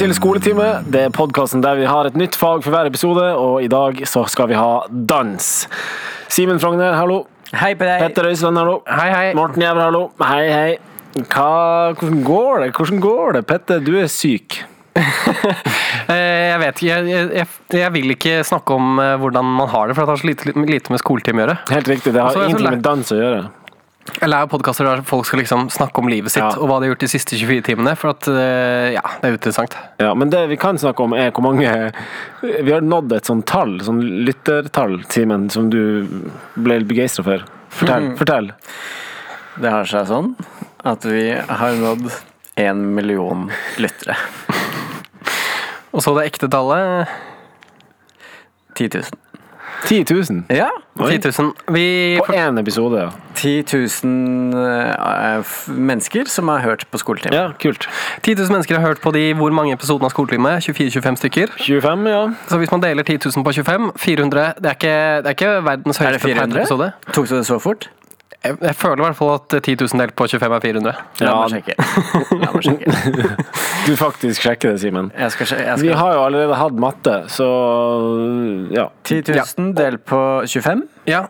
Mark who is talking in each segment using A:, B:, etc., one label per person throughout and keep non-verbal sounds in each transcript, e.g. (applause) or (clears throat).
A: til Skoletime. Det er podkasten der vi har et nytt fag for hver episode, og i dag så skal vi ha dans. Simen Frogner, hallo.
B: Hei på deg.
A: Petter Øysland, hallo.
B: Hei, hei.
A: Morten Jæver, hallo. Hei, hei. Hva, hvordan går det? Hvordan går det? Petter, du er syk.
B: Eh, Jeg vet ikke, jeg, jeg, jeg vil ikke snakke om eh, hvordan man har det, for det har så lite, lite med skoletime å gjøre.
A: Helt riktig, det har
B: Altså, jeg er så
A: ingenting
B: lei.
A: med dans å gjøre.
B: Jeg lærer podkaster der folk skal liksom snakke om livet sitt
A: Ja.
B: og hva de har gjort de siste 24 timene, for at eh, ja, det er uinteressant.
A: Ja, men det vi kan snakke om, er hvor mange Vi har nådd et sånt tall, sånn lyttertall, Simen, som du ble begeistra for.
B: Mm.
A: Fortell. fortell.
C: Det har seg sånn at vi har nådd én million lyttere.
B: Og så det ekte tallet
C: 10 000.
A: 10 000
C: Ja.
B: 10 000. Vi,
A: på én episode. ja.
C: 10 000 eh, f- mennesker som har hørt på skoletime.
A: Ja, kult.
B: 10 000 mennesker har hørt på de hvor mange episodene av Skoletime? 24-25 stykker.
A: 25, ja.
B: Så hvis man deler 10 000 på 25 400 Det er ikke, det er ikke verdens
C: Er det
B: høyeste per
C: 400?
B: episode.
C: Tok du det så fort?
B: Jeg, jeg føler i hvert fall at 10 000 delt på 25 er 400.
C: La
A: Ja.
C: meg sjekke. La meg sjekke.
A: Du faktisk sjekker det, Simen.
C: Jeg skal, sje- jeg
A: Vi
C: skal.
A: har jo allerede hatt matte, så ja.
C: 10 000 delt på 25?
B: Ja.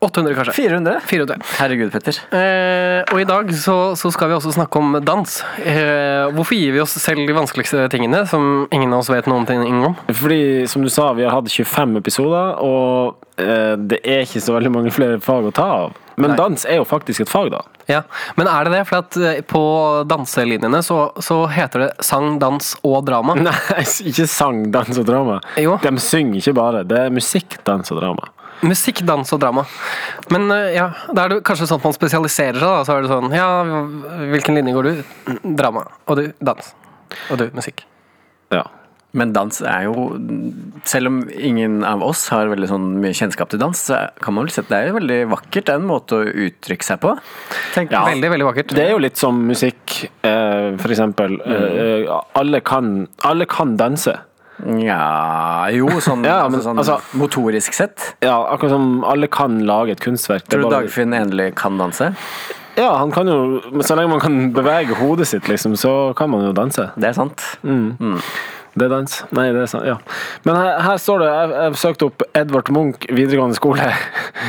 B: 800, kanskje.
C: 400?
B: 400.
C: Herregud, Petter.
B: Eh, og i dag så, så skal vi også snakke om dans. Eh, hvorfor gir vi oss selv de vanskeligste tingene som ingen av oss vet noen ting om?
A: Fordi, som du sa, vi har hatt 25 episoder, og eh, det er ikke så veldig mange flere fag å ta av. Men
B: Nei.
A: dans er jo faktisk et fag, da. (laughs)
B: Ja, Men er det det? For at eh, på danselinjene så, så heter det sang, dans og drama.
A: Nei, ikke sang, dans og drama.
B: Jo.
A: De synger ikke bare. Det er musikk, dans og drama.
B: Musikk, dans og drama. Men eh, ja, da er det kanskje sånn at man spesialiserer seg. da, Så er det sånn Ja, hvilken linje går du? Drama. Og du? Dans. Og du? Musikk.
A: Ja.
C: Men dans er jo Selv om ingen av oss har veldig sånn mye kjennskap til dans, så kan man vel si at det er jo veldig vakkert. Det er en måte å uttrykke seg på. Tenk,
B: Veldig, veldig vakkert.
A: Det er jo litt som musikk, eh, for eksempel. Eh, alle, kan, alle kan danse.
C: Ja Jo, sånn,
A: Ja, men,
C: altså, sånn
A: altså-
C: motorisk sett.
A: Ja, akkurat som alle kan lage et kunstverk. Det er
C: Tror du
A: bare-
C: Dagfinn endelig kan danse?
A: Ja, han kan jo, men så lenge man kan bevege hodet sitt, liksom, så kan man jo danse.
C: Det er sant.
A: Det er dans. Nei, det er sant. Ja. Men her, her står det, jeg, jeg søkte opp Edvard Munch videregående skole.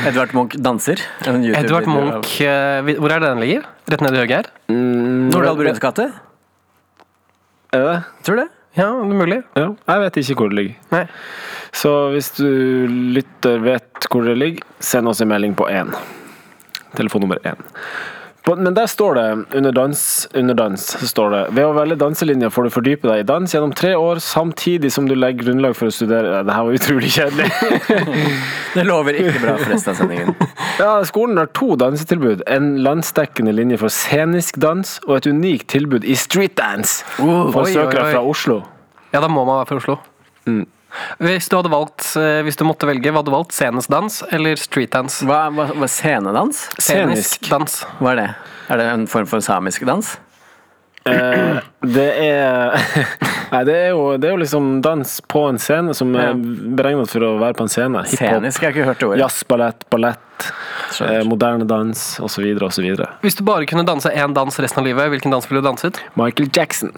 C: Edvard Munch danser. En YouTube-video
B: Edvard
C: av-
B: Munch eh, vi- Hvor er det den ligger? Rett nede i høyre her?
C: Nordahl Bruns gate?
A: Er det?
C: Tror du det?
B: Ja, mulig.
A: Ja, jeg vet ikke hvor det ligger.
B: Nei.
A: Så hvis du lytter vet hvor det ligger, send oss en melding på 1. Telefonnummer 1. På- Men der står det, under dans, under dans så står det Ved å velge danselinja får du fordype deg i dans gjennom tre år, samtidig som du legger grunnlag for å studere Det her var utrolig kjedelig.
C: Det lover ikke bra for resten
A: (laughs)
C: av sendingen.
A: Ja, skolen har to dansetilbud. En landsdekkende linje for scenisk dans, og et unikt tilbud i streetdance
C: Oh,
A: for
B: oi,
A: søkere
B: oi, oi.
A: fra Oslo.
B: Ja, da må man være fra Oslo.
A: Mm.
B: Hvis du hadde valgt, eh, hvis du måtte velge, hva hadde du valgt? Scenisk dans eller streetdans?
C: Hva, hva, hva Scenedans?
A: Scenisk.
B: dans.
C: Hva er det? Er det en form for samisk dans?
A: Eh, det er (laughs) Nei, det er, jo, det er jo liksom dans på en scene som er
C: Ja.
A: beregnet for å være på en scene. Hiphop,
C: Scenisk, jeg har ikke hørt det ordet.
A: jazz, ballett, ballett, eh,
C: Skjønner.
A: moderne dans osv. osv.
B: Hvis du bare kunne danse én dans resten av livet, hvilken dans ville du danset?
A: Michael Jackson.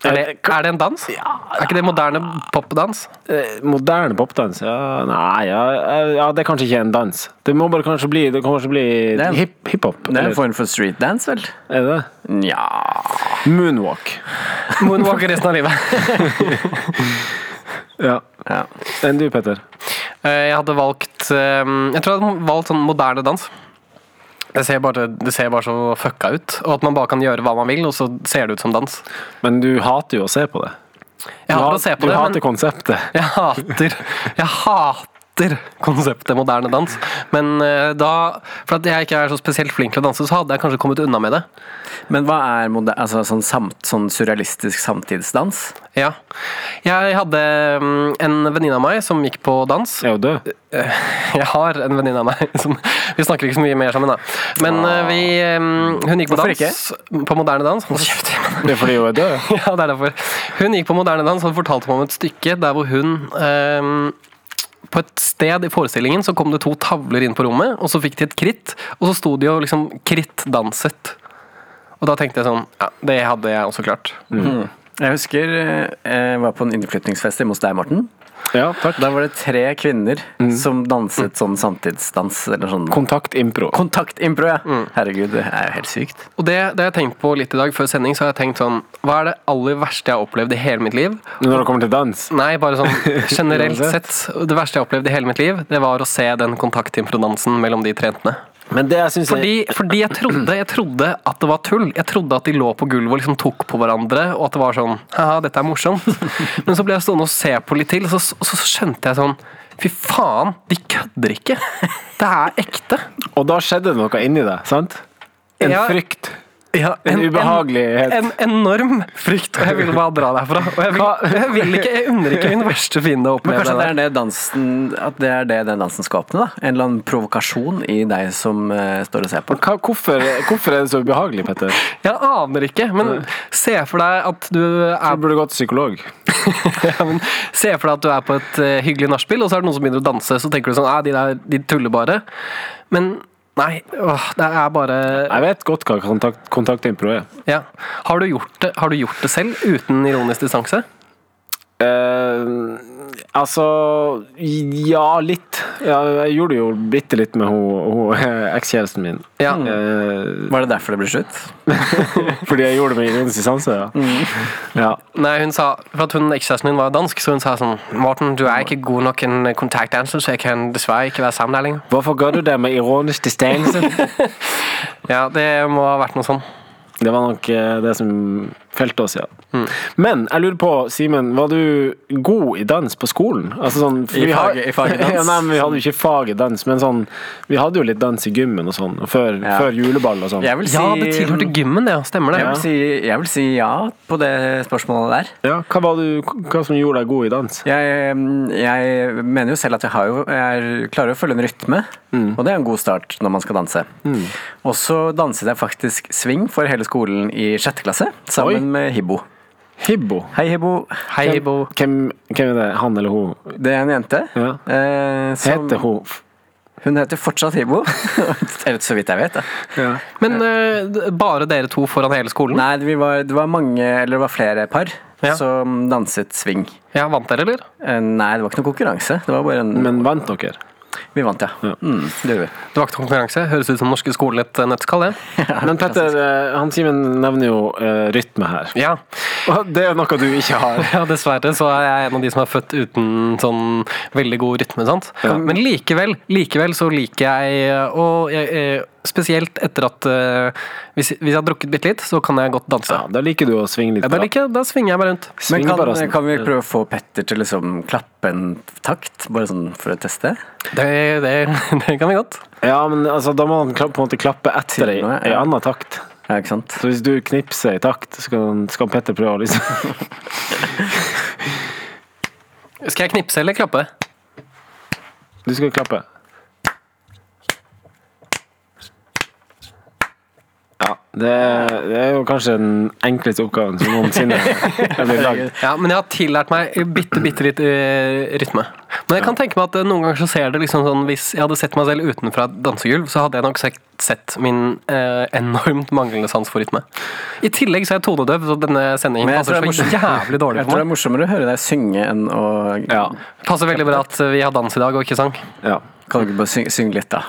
B: Er det, er det en dans? Er ikke det moderne popdans?
A: Eh, moderne popdans? Ja, nei ja, eh, ja, Det er kanskje ikke en dans. Det må bare kanskje bli, det kan kanskje bli
C: Det er-
A: hip- hiphop.
C: Det er en
A: eller-
C: form for streetdance, vel?
A: er det?
C: Nja
A: Moonwalk.
B: Moonwalk resten av
A: (laughs)
B: livet.
A: Ja.
C: ja.
A: Enn du, Petter?
B: Eh, Jeg hadde valgt eh, Jeg tror jeg hadde valgt sånn moderne dans. Det ser, bare, det ser bare så fucka ut. Og at man bare kan gjøre hva man vil, og så ser det ut som dans.
A: Men du hater jo å se på det.
B: Jeg
A: du
B: hater
A: hat-
B: å se på
A: du
B: det, men-
A: hater konseptet.
B: Jeg hater Jeg hater konseptet moderne dans. Men eh, da For at jeg ikke er så spesielt flink til å danse, så hadde jeg kanskje kommet unna med det.
C: Men hva er moder altså, sånn, samt, sånn surrealistisk samtidsdans?
B: Ja. Jeg hadde mm, en venninne av meg som gikk på dans.
A: Jeg er jo død.
B: Jeg har en venninne av meg som Vi snakker ikke så mye mer sammen, da. Men eh, vi mm, Hun gikk på
C: Hvorfor
B: dans. På moderne dans. Hold kjeft.
A: Det er fordi hun er død.
B: (laughs) Ja, det er derfor. Hun gikk på moderne dans og fortalte meg om et stykke der hvor hun ehm, På et sted i forestillingen så kom det to tavler inn på rommet, og så fikk de et kritt, og så sto de og
A: Mm.
B: liksom krittdanset. Og da tenkte jeg sånn Ja, det hadde jeg også klart.
C: Jeg husker eh, jeg var på en innflytningsfest hjemme hos deg, Morten.
A: Ja, takk.
C: Da var det tre kvinner som danset sånn samtidsdans. Eller sånn
A: Kontakt impro.
C: kontaktimpro, ja. Herregud, det er jo helt sykt.
B: Og det, det har jeg tenkt på litt i dag før sending, så har jeg tenkt sånn Hva er det aller verste jeg har opplevd i hele mitt liv?
A: Når det kommer til dans.
B: Nei, bare sånn generelt sett. Det verste jeg har opplevd i hele mitt liv, det var å se den kontaktimpro-dansen mellom de tre jentene.
A: Men det jeg syns
B: Fordi, fordi jeg, trodde, jeg trodde at det var tull. Jeg trodde at de lå på gulvet og liksom tok på hverandre, og at det var sånn Haha, dette er morsomt. (laughs) Men så ble jeg stående og se på litt til, og så, så, så skjønte jeg sånn Fy faen, de kødder ikke! Det er ekte.
A: Og da skjedde det noe inni deg, sant? En
B: Ja.
A: frykt.
B: Ja,
A: En ubehagelighet.
B: En, en enorm frykt. Og jeg ville bare dra derfra. Og jeg vil, jeg vil ikke, jeg unner ikke min verste fiende å
C: Men
B: oppleve
C: kanskje
B: det.
C: det er det, dansen, at det er det den dansen skal åpne? da? En eller annen provokasjon i deg som eh, står og ser på?
A: Hva, hvorfor, hvorfor er det så ubehagelig, Petter?
B: Jeg aner ikke, men se for deg at du er
A: Jeg burde gått til psykolog.
B: ja, men, Sånn, Se for deg at du er på et eh, hyggelig nachspiel, og så er det noen som begynner å danse, så tenker du sånn «Ah, de der, de tuller bare. Men nei, åh, det er bare
A: Jeg vet godt hva kontakt, kontaktimpro er.
B: ja. har, du gjort det, har du gjort det selv uten ironisk distanse?
A: Eh, altså Ja, litt. Ja, jeg gjorde det jo bitte litt med hun- hun (laughs) ekskjæresten min.
B: Ja.
A: Eh,
C: Var det derfor det ble slutt?
A: fordi jeg gjorde det med ironisk distanse, ja.
C: Mm.
A: ja.
B: Nei, hun sa For at hun ekskjæresten min var dansk, så hun sa sånn Morten, du er ikke god nok en kontaktdanser, så jeg kan dessverre ikke være sammen her lenger.
A: Hvorfor gjør du det med ironisk distanse?
B: Ja, det må ha vært noe sånn.
A: Det var nok eh, det som felte oss, ja.
C: Mm.
A: Men jeg lurer på, Simen, var du god i dans på skolen? Altså sånn, for
C: I
A: vi har-
C: faget- i faget dans?
A: (laughs) ja, nei, men vi hadde jo ikke fag i dans, men sånn, vi hadde jo litt dans i gymmen og sånn, og før,
C: Ja.
A: før juleball og sånn.
C: Jeg vil si,
B: Ja, det tilhørte gymmen, det. ja. Stemmer det.
C: jeg vil, si, jeg vil si ja på det spørsmålet der.
A: Ja, hva var du, hva som gjorde deg god i dans?
C: Jeg, jeg mener jo selv at jeg, har jo, jeg klarer å følge en rytme,
A: Mm.
C: og det er en god start når man skal danse. Og så danset jeg faktisk swing for hele skolen i sjette klasse, sammen
A: Oi.
C: med Hibbo.
A: Hibbo.
C: Hei, Hibbo.
B: Hei, Bo.
A: Hvem, hvem er det? Han eller hun?
C: Det er en jente.
A: Ja.
C: eh, som-
A: Heter hun?
C: Hun heter
A: (laughs)
C: fortsatt Hibbo. Eller så vidt jeg vet. Da.
B: Men eh, bare dere to foran hele skolen?
C: Nei, vi var, det var mange, eller det var flere par,
B: Ja.
C: som danset swing.
B: Ja, Vant dere, eller?
C: Eh, Nei, det var ikke noen konkurranse. Det var bare en
A: Men vant dere?
C: Vi vant, ja. Mm, det gjorde vi.
B: Det var ikke noen konkurranse. Høres ut som norske skolen et eh, nøttekall, det.
A: Men Petter, eh, han Simen nevner jo eh, rytme her.
B: Ja.
A: Og det er noe du ikke har.
B: ja, dessverre så er jeg en av de som er født uten sånn veldig god rytme. sant? Men likevel, likevel så liker jeg eh, å jeg, eh, Spesielt etter at eh, hvis, hvis jeg har drukket bitte litt, så kan jeg godt
A: (laughs)
B: danse.
A: Ja, da liker du å svinge litt.
B: Ja, da, liker, jeg- da svinger jeg meg rundt.
A: Svinger
C: Men
A: bare
C: kan,
A: sånn.
C: kan vi prøve å få Petter til å liksom klappe en takt, bare sånn for å teste?
B: Det, det, (laughs) det kan vi godt.
A: Ja, men altså, da må han kla- på en måte klappe etter i
C: Til meg,
A: i
C: ja.
A: annen takt.
C: Ja, ikke sant?
A: Så hvis du knipser i takt, så skal, han- skal Petter prøve å liksom (laughs)
B: Skal jeg knipse eller klappe?
A: Du skal klappe. Ja, det, det er jo kanskje den enkleste oppgaven som noensinne er blitt
B: (laughs)
A: lagd.
B: Ja, men jeg har tillært meg bitte, bitte litt eh, rytme. Men jeg kan tenke meg at eh, noen ganger så ser det liksom sånn Hvis jeg hadde sett meg selv utenfra et dansegulv, så hadde jeg nok sett, sett min eh, enormt manglende sans for rytme. I tillegg så er jeg tonedøv, så denne sendingen
C: Men jeg
B: passer
C: tror
B: så
C: det er
B: jævlig dårlig
C: Jeg tror
B: for
C: det er
B: meg.
C: morsommere å høre deg synge enn å
A: Ja.
B: Passer veldig bra at eh, vi har dans i dag og ikke sang.
A: ja.
C: Kan du ikke bare synge, synge litt, da?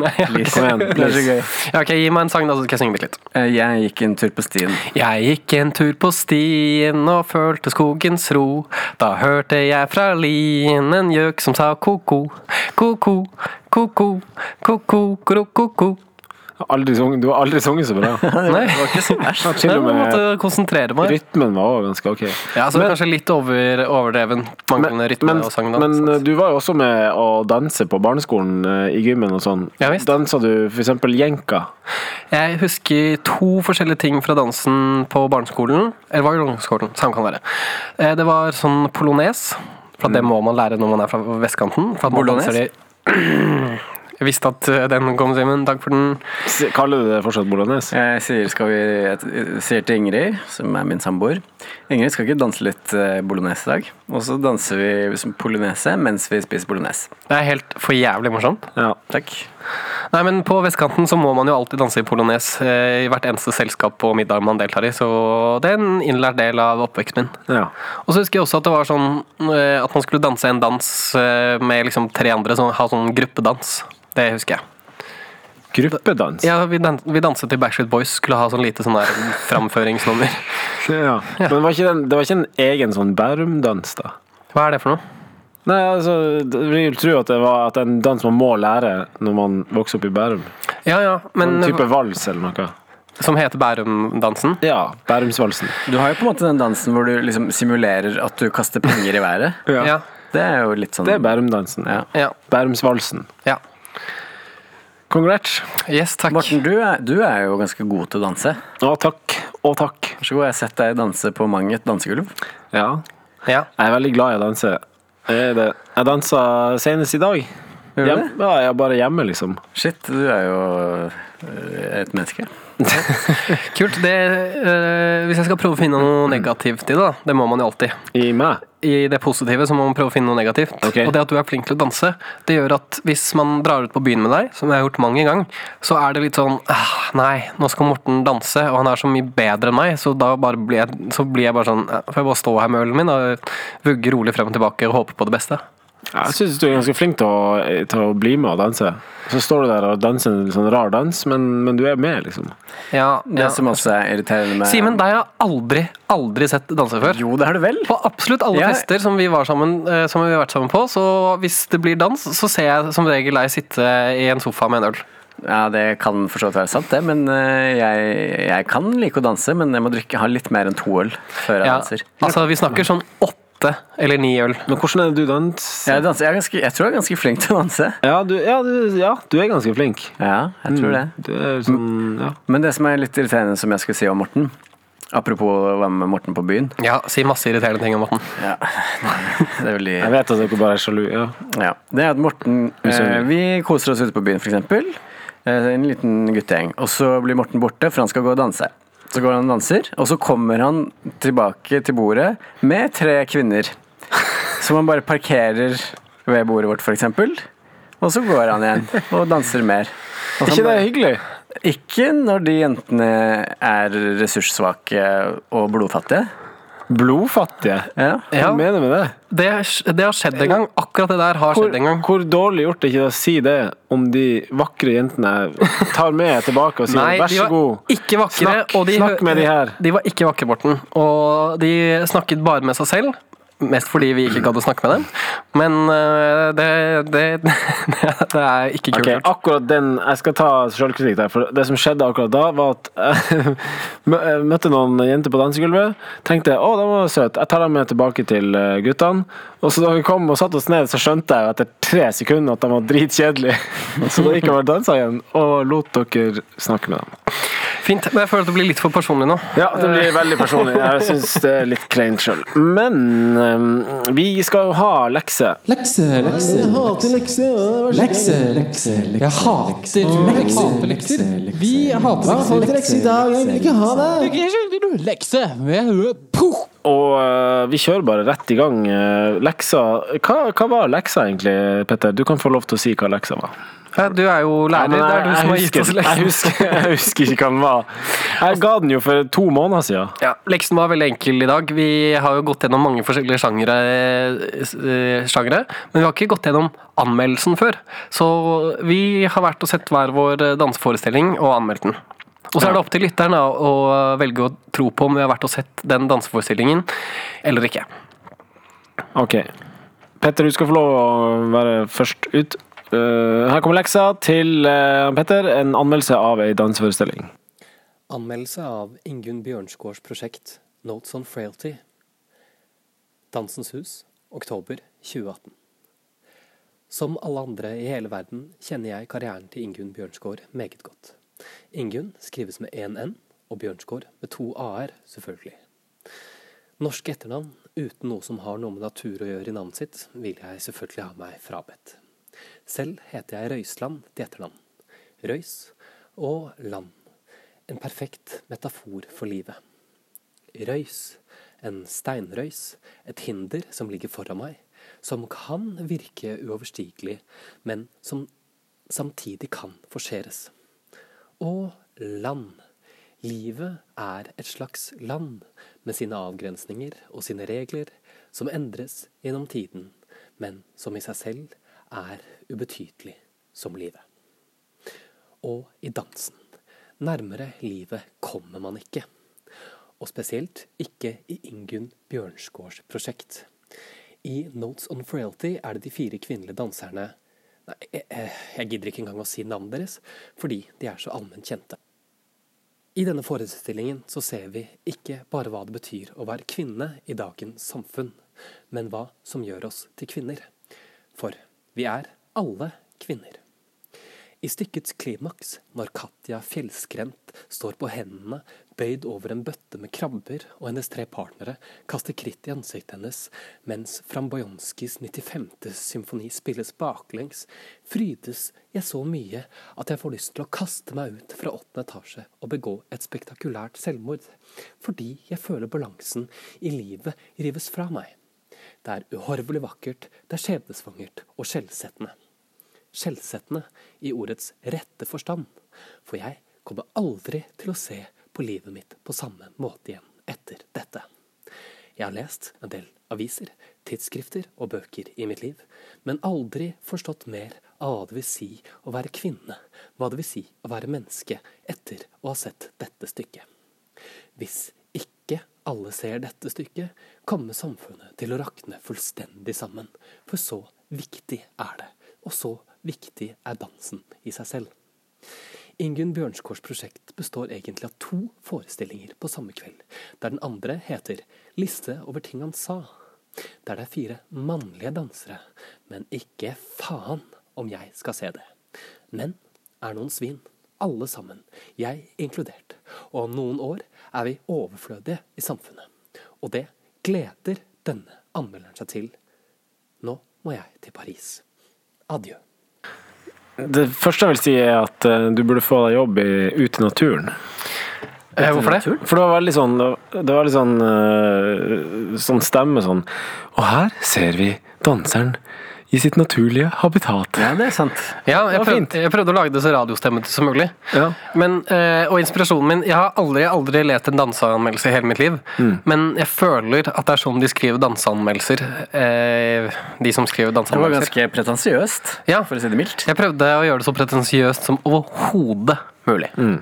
B: Nei, ja, ok.
A: Kom igjen.
C: Det er så
A: please.
C: gøy.
B: Ja, ok, Gi meg en sang, da, så skal jeg synge bitte litt.
C: Eh, Jeg gikk en tur på stien.
B: Jeg gikk en tur på stien og følte skogens ro. Da hørte jeg fra lien en gjøk som sa ko-ko, ko-ko, ko-ko, ko-ko, ko-ko.
A: Aldri sunget- Du har aldri sunget så bra.
B: (laughs) Nei,
C: Det var ikke så verst.
A: Til
B: jeg
A: og
B: måtte
A: med
B: konsentrere meg.
A: rytmen var også ganske ok.
B: Ja, altså, så det er kanskje litt over, overdreven manglende rytme
A: men,
B: og sang. da.
A: men eh, du var jo også med å danse på barneskolen eh, i gymmen og sånn.
B: Ja, visst.
A: Dansa du f.eks. jenka?
B: Jeg husker to forskjellige ting fra dansen på barneskolen. Eller var det ungdomsskolen? Samme kan være. Eh, Det var sånn polones, for at det må man lære når man er fra vestkanten. For at man
C: Bolognese?
B: danser i- (clears throat) Jeg visste at eh, den kom, Simen. Takk for den.
A: S- Kaller du det fortsatt bolognese?
C: Jeg sier, skal vi, jeg sier til Ingrid, som er min samboer Ingrid, skal ikke danse litt eh, bolognese i dag? Og så danser vi som polonese mens vi spiser polonese.
B: Det er helt for jævlig morsomt.
A: Ja.
C: Takk.
B: Nei, men På vestkanten så må man jo alltid danse i polones eh, i hvert eneste selskap og middag man deltar i. Så det er en innlært del av oppveksten min.
A: ja.
B: Og så husker jeg også at det var sånn eh, at man skulle danse en dans eh, med liksom tre andre. Sånn, ha sånn gruppedans. Det husker jeg.
A: Gruppedans.
B: Ja, vi, dan vi danset til Backstreet Boys. Skulle ha sånn lite sånn der framføringsnummer.
A: Ja. Men var ikke den, det var ikke en egen sånn Bærum-dans, da?
B: (laughs) Hva er det for noe?
A: Nei, altså, det- jeg vil tro at det var at det er en dans man må lære når man vokser opp i Bærum.
B: Ja, ja, men eh,
A: En type vals eller noe.
B: Som heter Bærum-dansen?
A: Ja, Bærumsvalsen.
C: Du har jo på en måte den dansen hvor du liksom simulerer at du kaster penger i været.
A: Ja.
B: Ja.
C: Det er jo litt sånn
A: Det er Bærumdansen.
C: Ja.
B: ja.
A: Bærumsvalsen.
B: ja.
A: Congrats.
B: Yes, takk.
C: Morten, du er, du er jo ganske god til å danse.
A: Å, takk. Å, takk.
C: Vær så god, jeg har sett deg danse på mang et dansegulv.
A: Ja.
B: Ja.
A: Jeg er veldig glad i å danse. Jeg er det. Jeg dansa senest i dag.
C: du
A: Hjem, ja, jeg er bare hjemme, liksom.
C: Shit, du er jo øh, et menneske.
B: Kult. Det, eh, hvis jeg skal prøve å finne noe negativt i det, da, det må man jo alltid.
A: I meg.
B: I det positive så må man prøve å finne noe negativt.
A: Ok.
B: Og det at du er flink til å danse, det gjør at hvis man drar ut på byen med deg, som jeg har gjort mange ganger, så er det litt sånn ah, Nei, nå skal Morten danse, og han er så mye bedre enn meg, så da bare blir jeg, så blir jeg bare sånn «Ja, Får jeg bare stå her med ølen min og vugge rolig frem og tilbake og håpe på det beste?
A: Jeg syns du er ganske flink til å, til å bli med og danse. Så står du der og danser en sånn rar dans, men, men du er med, liksom.
B: Ja,
C: Det
B: ja.
C: som også er irriterende med
B: Simen, deg har jeg aldri, aldri sett danse før.
C: Jo, det har du vel?
B: På absolutt alle
C: Jeg-
B: fester som vi, var sammen, eh, som vi har vært sammen på, så hvis det blir dans, så ser jeg som regel deg sitte i en sofa med en øl.
C: Ja, det kan for så vidt være sant, det. Men øh, jeg, jeg kan like å danse, men jeg må drikke, ha litt mer enn to øl før jeg
B: Ja,
C: danser.
B: altså, vi snakker sånn åtte eller ni øl.
A: Men hvordan er det du danser?
C: Jeg, danser jeg, er ganske, jeg tror jeg er ganske flink til å danse.
A: Ja, du, ja, du, ja, du er ganske flink.
C: Ja, jeg tror det.
A: Du er sånn, ja.
C: Mm. Men det som er litt irriterende, som jeg skulle si om Morten Apropos å være med Morten på byen.
B: Ja, si masse irriterende ting om Morten.
C: Ja, (laughs) det er veldig...
A: Jeg vet at dere bare er sjalu. Ja.
C: Ja, det er at Morten eh,
A: Usynlig.
C: Vi koser oss ute på byen, for eksempel. Eh, en liten guttegjeng. Og så blir Morten borte, for han skal gå og danse. Så går han og danser, og så kommer han tilbake til bordet med tre kvinner. Som han bare parkerer ved bordet vårt, for eksempel. Og så går han igjen og danser mer.
A: Er
C: Og så
A: ikke det
C: han
A: hyggelig?
C: bare- ikke når de jentene er ressurssvake og blodfattige.
A: Blodfattige?
C: Ja.
A: Hva
B: Ja.
A: mener du med det?
B: Det, det har skjedd en gang. Akkurat det der har
A: Hvor,
B: skjedd en gang.
A: hvor dårlig gjort er ikke det å si det om de vakre jentene tar med tilbake og sier
B: Nei,
A: vær
B: de
A: så
B: var
A: god?
B: ikke vakre.
A: Snakk-
B: og de,
A: snakk med de her.
B: De var ikke vakre, Morten. Og de snakket bare med seg selv. Mest fordi vi ikke gadd å snakke med dem. Men øh, det, det, (laughs) det er ikke kult.
A: Ok,
B: gjort.
A: akkurat den, Jeg skal ta selvkritikk der. For det som skjedde akkurat da, var at (laughs) jeg mø- jeg møtte noen jenter på dansegulvet. Tenkte å, de var søte, jeg tar dem med tilbake til eh, guttene. Og så da vi kom og satte oss ned, så skjønte jeg jo etter tre sekunder at de var dritkjedelige. (laughs) Så da gikk jeg bare og dansa igjen, og lot dere snakke med dem.
B: Fint. Men jeg føler at det blir litt for personlig nå.
A: Ja, det blir veldig personlig. Jeg syns det er litt kleint sjøl. Men eh, vi skal jo ha lekser.
D: Lekse, lekse, jeg hater lekse. Lekse, lekse, lekse. Jeg hater lekser. lekser. Vi hater lekser. Hva lekse i dag? Jeg vil ikke ha det. Lekse. Puh.
A: Og eh, vi kjører bare rett i gang. Eh, leksa hva, hva var leksa egentlig, Petter? Du kan få lov til å si hva leksa var.
B: Ja, Du er jo lærer.
A: Nei,
B: det er du som har
A: jeg,
B: gitt oss
A: husker, jeg,
B: leksen.
A: husker, jeg husker ikke hva den var. Jeg ga den jo for to måneder siden.
B: Ja, leksen var veldig enkel i dag. Vi har jo gått gjennom mange forskjellige sjangere, eh, sjangere, men vi har ikke gått gjennom anmeldelsen før. Så vi har vært og sett hver vår eh, danseforestilling og anmeldt den. Og så er det opp til lytteren da, å eh, velge å tro på om vi har vært og sett den danseforestillingen eller ikke.
A: Ok. Petter, du skal få lov å være først ut. Eh, her kommer leksa til eh, Petter. En anmeldelse av ei danseforestilling.
E: Anmeldelse av Ingunn Bjørnsgaards prosjekt Notes on Frailty. Dansens hus, oktober 2018. Som alle andre i hele verden kjenner jeg karrieren til Ingunn Bjørnsgaard meget godt. Ingunn skrives med én N, og Bjørnsgaard med to A-er, selvfølgelig. Norske etternavn uten noe som har noe med natur å gjøre i navnet sitt, vil jeg selvfølgelig ha meg frabedt. Selv heter jeg Røisland til etternavn. Røys og land. En perfekt metafor for livet. Røys en steinrøys, et hinder som ligger foran meg, som kan virke uoverstigelig, men som samtidig kan forseres. Og land. Livet er et slags land, med sine avgrensninger og sine regler, som endres gjennom tiden, men som i seg selv er ubetydelig som livet. Og i dansen. Nærmere livet kommer man ikke. Og spesielt ikke i Ingunn Bjørnsgaards prosjekt. I Notes on Frailty er det de fire kvinnelige danserne Nei, jeg, jeg- jeg gidder ikke engang å si navnet deres, fordi de er så allment kjente. I denne forestillingen så ser vi ikke bare hva det betyr å være kvinne i dagens samfunn, men hva som gjør oss til kvinner. For vi er alle kvinner. I stykkets klimaks, når Katja fjellskrent står på hendene, bøyd over en bøtte med krabber, og hennes tre partnere kaster kritt i ansiktet hennes, mens Frambojanskijs 95. symfoni spilles baklengs, frydes jeg så mye at jeg får lyst til å kaste meg ut fra åttende etasje og begå et spektakulært selvmord, fordi jeg føler balansen i livet rives fra meg. Det er uhorvelig vakkert, det er skjebnesvangert og skjellsettende skjellsettende i ordets rette forstand, for jeg kommer aldri til å se på livet mitt på samme måte igjen etter dette. Jeg har lest en del aviser, tidsskrifter og bøker i mitt liv, men aldri forstått mer av hva det vil si å være kvinne, hva det vil si å være menneske etter å ha sett dette stykket. Hvis ikke alle ser dette stykket, kommer samfunnet til å rakne fullstendig sammen. For så viktig er det, og så viktig er dansen i seg selv. Ingunn Bjørnskårs prosjekt består egentlig av to forestillinger på samme kveld, der den andre heter Liste over ting han sa, der det er fire mannlige dansere, men ikke faen om jeg skal se det. Men er noen svin, alle sammen, jeg inkludert, og om noen år er vi overflødige i samfunnet. Og det gleder denne anmelderen seg til. Nå må jeg til Paris. Adjø.
A: Det første jeg vil si, er at eh, du burde få deg jobb i, ute i naturen.
B: Eh, hvorfor det?
A: For det var veldig sånn Det var litt sånn øh, Sånn stemme sånn Og her ser vi danseren i sitt naturlige habitat.
C: Ja, det er sant.
B: Ja, jeg
A: var fint.
B: prøvde, jeg prøvde å lage det så radiostemmete som mulig.
A: Ja.
B: Men, eh, og inspirasjonen min Jeg har aldri, aldri lest en danseanmeldelse i hele mitt liv.
C: Mm.
B: Men jeg føler at det er sånn de skriver danseanmeldelser. Eh, de som skriver
C: Det var
B: danseanmeldelser.
C: ganske pretensiøst,
B: Ja.
C: for å si det sånn. mildt.
B: Jeg prøvde å gjøre det så pretensiøst som overhodet mulig.
C: Mm.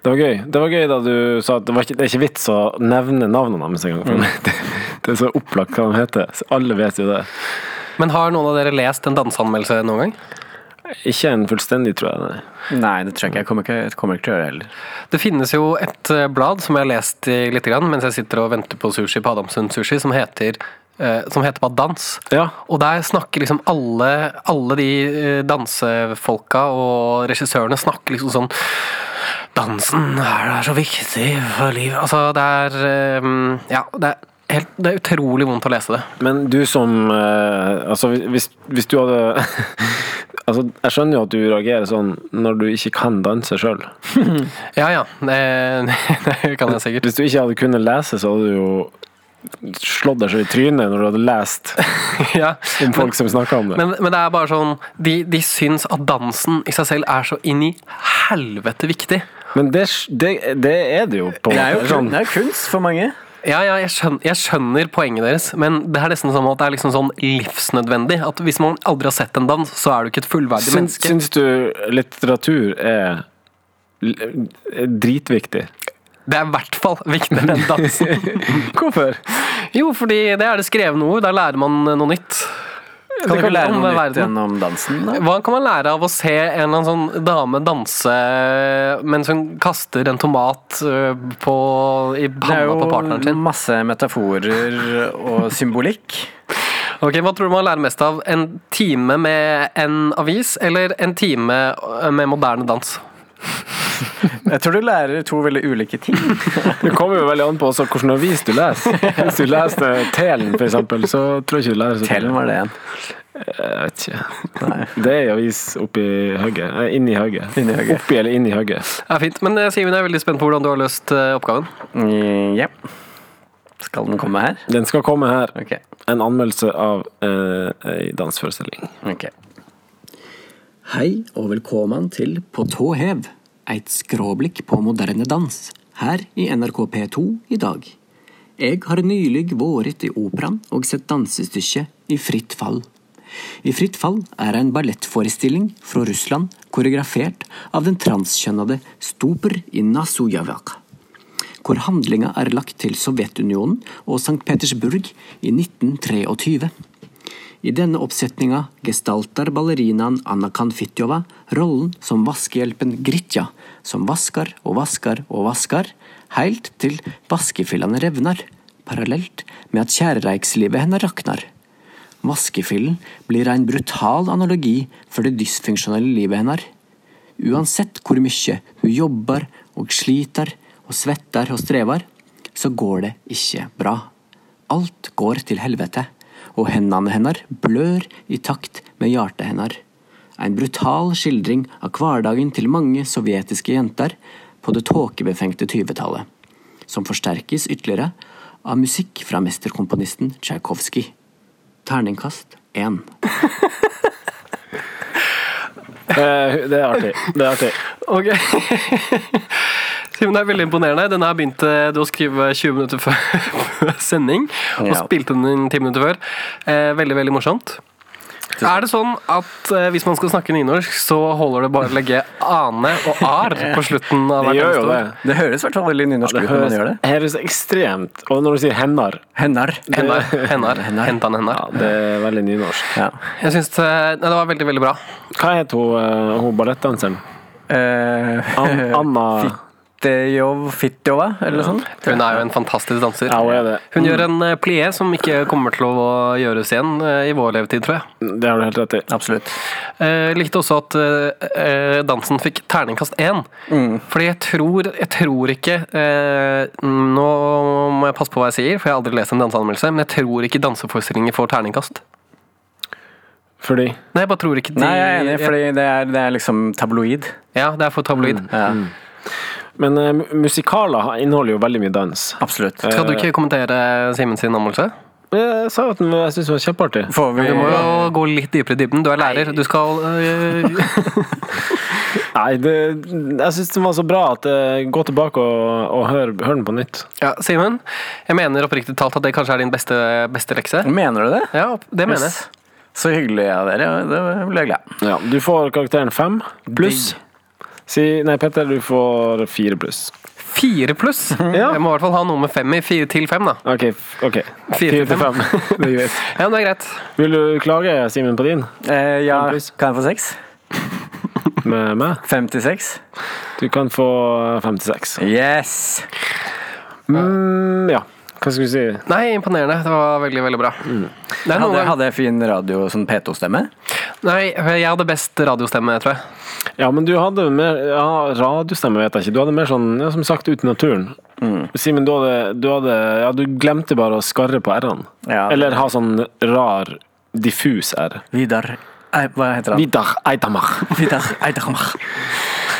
A: Det var gøy Det var gøy da du sa at det, var ikke, det er ikke vits å nevne navnene deres engang.
C: Mm.
A: for (laughs) Det, det er så opplagt hva de heter. Så alle vet jo det.
B: Men har noen av dere lest en danseanmeldelse noen gang?
A: Ikke en fullstendig, tror jeg. Nei.
C: Nei, det tror jeg ikke. Jeg kommer ikke, jeg kommer ikke til å gjøre det heller.
B: Det finnes jo et eh, blad som jeg har lest i litt grann, mens jeg sitter og venter på sushi på Adamsund Sushi, som heter, eh, som heter bare Dans.
A: Ja.
B: Og der snakker liksom alle, alle de eh, dansefolka og regissørene snakker liksom sånn Dansen er da så viktig for livet Altså, det er eh, Ja, det er, helt, det er utrolig vondt å lese det.
A: Men du som øh, Altså, hvis, hvis du hadde (laughs) Altså, jeg skjønner jo at du reagerer sånn når du ikke kan danse sjøl.
B: Ja (laughs) ja, det, det kan jeg sikkert.
A: Hvis du ikke hadde kunnet lese, så hadde du jo slått deg så i trynet når du hadde
C: (laughs)
A: lest
B: Ja.
A: om folk som snakker om det.
B: Men, men det er bare sånn de, de syns at dansen i seg selv er så inn i helvete viktig.
A: Men det, det, det er det jo på
C: Det er jo
A: sånn.
C: kun- det er jo kunst for mange.
B: Ja, ja, jeg skjønner, jeg skjønner poenget deres, men det er nesten som at det er liksom sånn livsnødvendig. At hvis man aldri har sett en dans, så er du ikke et fullverdig
A: Syns,
B: menneske.
A: syns du litteratur er l- er dritviktig?
B: Det er i hvert fall viktigere enn
C: (laughs)
B: dansen.
A: Hvorfor?
B: jo, fordi det er det skrevne ord. Der lærer man eh, noe nytt.
C: Kan du
B: ikke
C: ikke lære
B: om
C: noe nytt
B: verden.
C: gjennom dansen? Da?
B: Hva kan man lære av å se en eller annen sånn dame danse eh, mens hun kaster en tomat øh, på, i
C: Det er
B: panna på partneren
C: jo
B: sin?
C: masse metaforer og symbolikk.
B: Ok, Hva tror du man lærer mest av? En time med en avis, eller en time øh, med moderne dans?
C: Jeg tror du lærer to veldig ulike ting.
A: Det kommer jo veldig an på også hvilken avis du
C: (laughs)
A: leser. Hvis du leser Telen, for eksempel, så tror jeg ikke du lærer så
C: Tellen var det igjen.
A: Jeg vet ikke. Det er en avis oppi høgget. Eh, Inni høgget.
C: Inni høgget.
A: Oppi eller inni høgget.
B: Det er fint, men eh, Simen, jeg er veldig spent på hvordan du har løst eh, oppgaven.
C: Mm, Ja. Skal den komme her?
A: Den skal komme her.
C: Ok.
A: En anmeldelse av eh, ei danseforestilling.
C: ok.
F: Hei og velkommen til På tå hev, et skråblikk på moderne dans, her i NRK P2 i dag. Jeg har nylig vært i operaen og sett dansestykket I fritt fall. I fritt fall er en ballettforestilling fra Russland koreografert av den transkjønnede Stuper Inasujavak hvor handlinga er lagt til Sovjetunionen og St. Petersburg i 1923. I denne oppsetninga gestalter ballerinaen Anna Kanfitjova rollen som vaskehjelpen Gritja, som vasker og vasker og vasker, helt til vaskefillene revner, parallelt med at kjærleikslivet hennes rakner. Vaskefillen blir en brutal analogi for det dysfunksjonelle livet hennes. Uansett hvor mye hun jobber og sliter og svetter og strever, så går det ikke bra. Alt går til helvete, og hendene hennes blør i takt med hjertet hennes. En brutal skildring av hverdagen til mange sovjetiske jenter på det tåkebefengte 20-tallet, som forsterkes ytterligere av musikk fra mesterkomponisten Tsjajkovskij. Terningkast én.
A: Eh, det er artig. Det er artig.
B: Ok. (laughs) Simen, det er veldig imponerende. Den her begynte du å skrive 20 minutter før (laughs) sending, og
C: Ja.
B: spilte den inn 10 minutter før. Eh, veldig, veldig morsomt. Er det sånn at eh, hvis man skal snakke nynorsk, så holder det bare å legge ane og ar på slutten
A: Det
B: av hvert
A: gjør jo
B: eneste
A: det.
B: ord?
C: Det høres i hvert fall veldig nynorsk ut
A: Det
C: når man
A: høres,
C: gjør det.
A: høres ekstremt Og når du sier hender
C: Hennar.
B: Hennar, hennar, hentan, hennar.
A: Ja, det er veldig nynorsk.
C: Ja.
B: Jeg syns det, nei, det var veldig, veldig bra.
A: Hva het hun, eh, hun ballettdanseren?
C: Eh, (laughs)
A: An Anna
C: Fittejov, Fittjova, eller sånn? noe sånt.
B: Hun er jo en fantastisk danser.
A: Ja, hun er det.
B: Hun gjør en eh, plie som ikke kommer til å gjøres igjen eh, i vår levetid, tror jeg.
A: Det har du helt rett i.
C: Absolutt.
B: Eh, likte også at eh, eh, dansen fikk terningkast én.
C: Mm.
B: Fordi jeg tror, jeg tror ikke eh, Nå må jeg passe på hva jeg sier, for jeg har aldri lest en danseanmeldelse, men jeg tror ikke danseforestillinger får terningkast.
A: Fordi
B: Nei, jeg bare tror ikke de
C: Nei, jeg er enig, fordi det er, det er liksom tabloid.
B: Ja, det er for tabloid. Mm.
C: Ja,
A: Men eh, mu- musikaler har- inneholder jo veldig mye dans.
C: Absolutt.
B: Skal du ikke kommentere Simen sin anmeldelse?
A: Eh, Jeg sa at den var- jeg syns den var kjempeartig.
C: Får vi
B: Du må jo gå litt dypere i dybden. Du er lærer. Du skal
C: (laughs)
B: eh,
A: Nei, det, jeg syns den var så bra at eh, gå tilbake og, og hør, hør den på nytt.
B: Ja, Simen. Jeg mener oppriktig talt at det kanskje er din beste, beste lekse.
C: Mener du det?
B: Ja, det mener jeg.
C: Yes. Så hyggelig av dere. Det ble jeg glad.
A: Ja, du får karakteren fem pluss. Si, nei, Petter, du får fire pluss.
B: Fire pluss.
C: (laughs)
A: Ja.
B: Jeg må i hvert fall ha noe med fem i. Fire til fem, da.
A: OK. f- ok. Fire til fem. (laughs) Det er greit.
B: Ja, men det er greit.
A: Vil du klage, Simen, på din?
C: Eh,
A: Ja,
C: ja,
A: please.
C: kan jeg få seks?
A: Med meg?
C: 56?
A: Du kan få 56.
C: Yes!
A: Mm, ja. Hva skulle du si?
B: Nei, imponerende. Det var veldig, veldig bra. Det er noen
C: Hadde,
B: ganger-
C: hadde jeg fin radio, sånn P2-stemme?
B: Nei, jeg hadde best radiostemme, tror jeg.
A: Ja, men du hadde mer ja, Radiostemme vet jeg ikke. Du hadde mer sånn, ja, som sagt, ute i naturen. Simen, du hadde, du hadde Ja, du glemte bare å skarre på r-ene.
C: Ja.
A: Eller ha sånn rar, diffus r.
C: Vidar Ei, Hva heter han?
A: Vidar Eitamar.
C: (laughs) Vidar Eidhammer.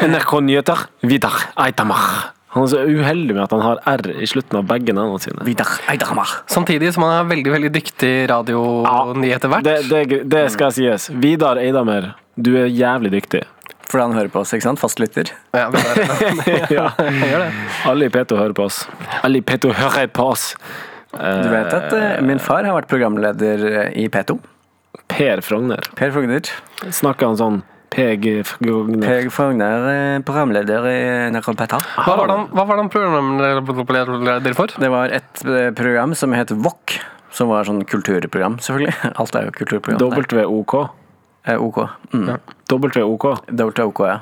A: NRK Nyheter. Vidar Eitamar. Han er så uheldig med at han har r i slutten av begge navnene sine.
C: Vidar Eidhammer.
B: Samtidig som han er veldig veldig dyktig radionyhetevert.
A: Det, det, det skal sies. Vidar Eidamer, du er jævlig dyktig.
C: Fordi han hører på oss, ikke sant? Fastlytter.
B: Ja, vi er det.
A: ja. Alle i P2 hører på oss. Alle i P2 hører på oss!
C: Du vet at eh, min far har vært programleder eh, i P2.
A: Per Frogner.
C: Per Fogner.
A: Snakker han sånn PG Frogner?
C: Per Fogner er eh, programleder i NRK P2.
B: Hva var det han- hva var det han programleder for?
C: Det var et eh, program som het VOK, som var sånn kulturprogram, selvfølgelig. (laughs) Alt er jo kulturprogram. der.
A: WOK.
C: Eh, OK. Mm.
A: WOK.
C: Dobbelt er OK, ja.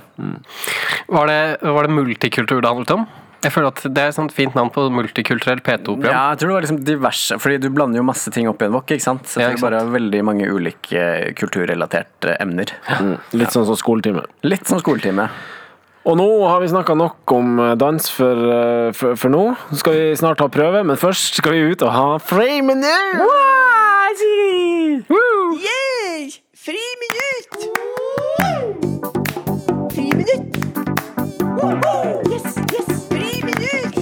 B: Var det, var det multikultur det handlet om? Jeg føler at Det er et sånt fint navn på multikulturell P2-program.
C: Ja, jeg tror det var liksom diverse, fordi du blander jo masse ting opp i en wok, ikke sant? Så
B: Ja,
C: jeg
B: ikke
C: tror bare veldig mange ulike kulturrelaterte emner. Mm.
A: Litt sånn som skoletime.
C: Litt som skoletime.
A: Og nå har vi snakka nok om dans for, eh, for, for nå. Så skal vi snart ha prøve, men først skal vi ut og ha friminutt!
G: Yay! Friminutt! Friminutt! Woho! Yes, yes! Friminutt!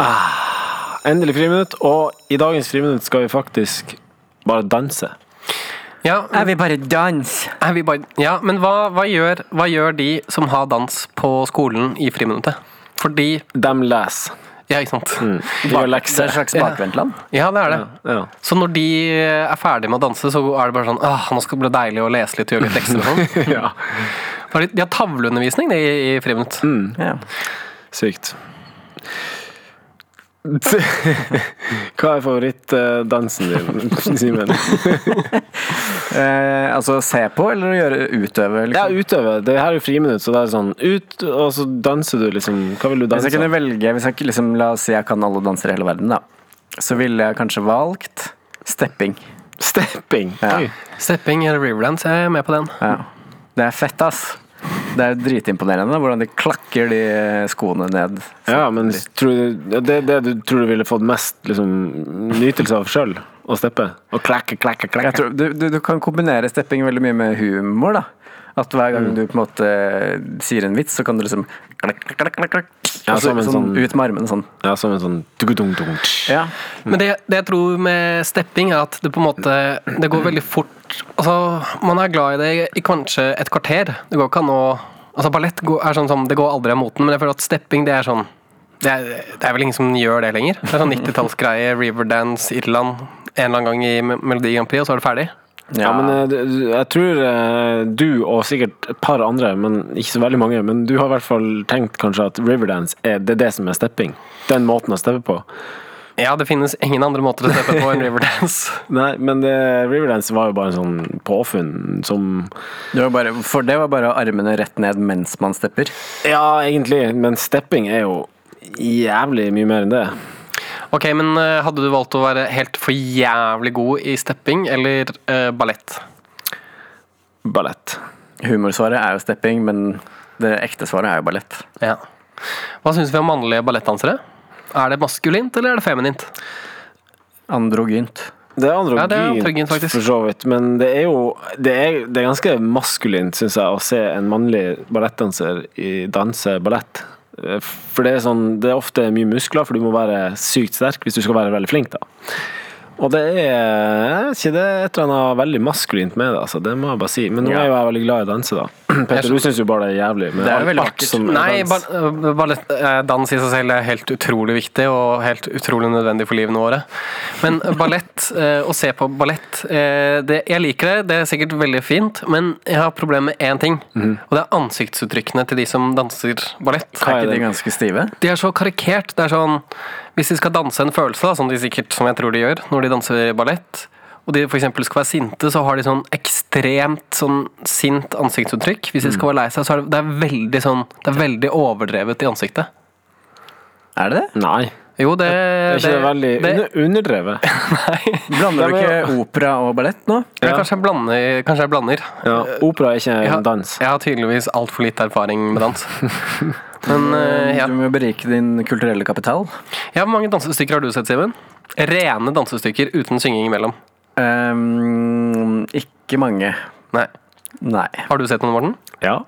A: Ah, Endelig friminutt. Og i dagens friminutt skal vi faktisk bare danse.
B: Ja,
C: Jeg vil bare danse.
B: er vi bare, ja men hva, hva, gjør, hva gjør de som har dans på skolen i friminuttet? Fordi
A: De leser.
B: Ja, ikke sant?
A: De gjør
C: Det er
A: lekser.
C: et slags bakvendtland.
B: Ja, det er det.
A: Ja.
B: Så når de er ferdige med å danse, så er det bare sånn Åh, nå skal det bli deilig å lese litt og gjøre litt lekser og sånn.
A: Ja.
B: Det er litt- De har tavleundervisning det, i, i friminutt.
C: Ja.
A: Sykt. (laughs) Hva er favorittdansen din, (laughs) Simen?
C: Eh, altså se på eller å gjøre utøve?
A: Ja,
C: Liksom.
A: utøve. Det her er jo friminutt, så det er sånn ut, og så danser du, liksom. Hva vil du
C: Hvis
A: danse?
C: jeg kunne velge, hvis jeg, liksom, la oss si jeg kan alle danser i hele verden, da. Så ville jeg kanskje valgt stepping.
A: Stepping.
C: Ja.
A: Oi.
B: Stepping eller riverdance, jeg er med på den.
C: Ja. Det er fett, ass. Det er dritimponerende da, hvordan de klakker de skoene ned.
A: Ja, men tror du, ja, det er det du tror du ville fått mest liksom, nytelse av sjøl? Å steppe? Å klakke, klakke, klakke?
C: Jeg tror, du, du, du kan kombinere stepping veldig mye med humor, da. At
A: Mm.
C: hver gang du på en måte eh, sier en vits, så kan du liksom klakk, klakk, klakk, klakk,
A: Ja,
C: og så,
A: som en
C: sånn,
A: sånn-
C: Ut med armene sånn.
A: Ja, som en sånn dugudung-dung.
C: Ja.
B: Men det, det jeg tror med stepping, er at det på en måte Det går veldig fort. Altså, man er glad i det i kanskje et kvarter. Det går ikke an å Altså, ballett går- er sånn som Det går aldri av moten, men jeg føler at stepping, det er sånn det er, det er vel ingen som gjør det lenger. Det er sånn 90-tallsgreie, Riverdance, Irland. En eller annen gang i Me- Melodi Grand Prix, og så er det ferdig.
A: Ja, men eh, du- du- jeg tror eh, du og sikkert et par andre, men ikke så veldig mange, men du har i hvert fall tenkt kanskje at Riverdance er det, er det som er stepping? Den måten å steppe på?
B: Ja, det finnes ingen andre måter å steppe på enn Riverdance.
A: Nei, men det, Riverdance var jo bare en sånn påfunn som
C: Det var bare, for det var bare armene rett ned mens man stepper.
A: Ja, egentlig, men stepping er jo jævlig mye mer enn det.
B: (laughs) Ok, men eh, hadde du valgt å være helt for jævlig god i stepping eller eh, ballett?
A: Ballett.
C: Humorsvaret er jo stepping, men det ekte svaret er jo ballett.
B: Ja. Hva syns vi om mannlige ballettdansere? Er det maskulint eller er det feminint?
C: Androgynt.
A: Det er
B: Ja, det er androgynt,
A: androgynt,
B: faktisk.
A: for så vidt, men det er jo Det er, det er ganske maskulint, syns jeg, å se en mannlig ballettdanser i- danse ballett. Eh, For det er sånn Det er ofte mye muskler, for du må være sykt sterk hvis du skal være veldig flink, da. Og det er ikke det er et eller annet veldig maskulint med det, altså. Det må jeg bare si. Men nå
C: Ja.
A: er jo jeg veldig glad i å danse, da. (clears throat) Petter, du syns jo bare det er jævlig. Med
C: Det er jo veldig
A: alt
C: vakkert.
A: som er
B: Nei,
A: dans.
B: ba- eh, ballett, eh, dans i seg selv er helt utrolig viktig og helt utrolig nødvendig for livene våre.
C: (laughs)
B: Men ballett, eh, å se på ballett eh, det, Jeg liker det, det er sikkert veldig fint, men jeg har problemer med én ting. Og det er ansiktsuttrykkene til de som danser ballett.
A: Hva
C: Mhm. Er
A: er
C: ikke de
A: det?
C: ganske stive?
B: De er så karikert. Det er sånn Hvis de skal danse en følelse, da, som de sikkert som jeg tror de gjør når de danser ballett, og de f.eks. skal være sinte, så har de sånn ekstremt sånn sint ansiktsuttrykk. Hvis de skal være lei seg, så er det, det er veldig sånn Det er veldig overdrevet i ansiktet.
C: Er det det?
A: Nei.
B: Jo, det
A: Er ikke det, veldig (laughs)
B: det-
A: under, underdrevet?
B: Nei.
C: Blander du
A: Ja, men-
C: ikke opera og ballett nå?
B: Ja. Kanskje jeg blander. Kanskje jeg blander.
A: Ja, opera er ikke
B: Jeg har-
A: en dans.
B: Jeg har tydeligvis altfor lite erfaring med dans. Men eh, ja.
C: Du må berike din kulturelle kapital.
B: ja, Hvor mange dansestykker har du sett, Simen? Rene dansestykker uten synging imellom.
C: Ehm, ikke mange.
B: Nei.
C: Nei.
B: Har du sett noen, Morten?
A: Ja.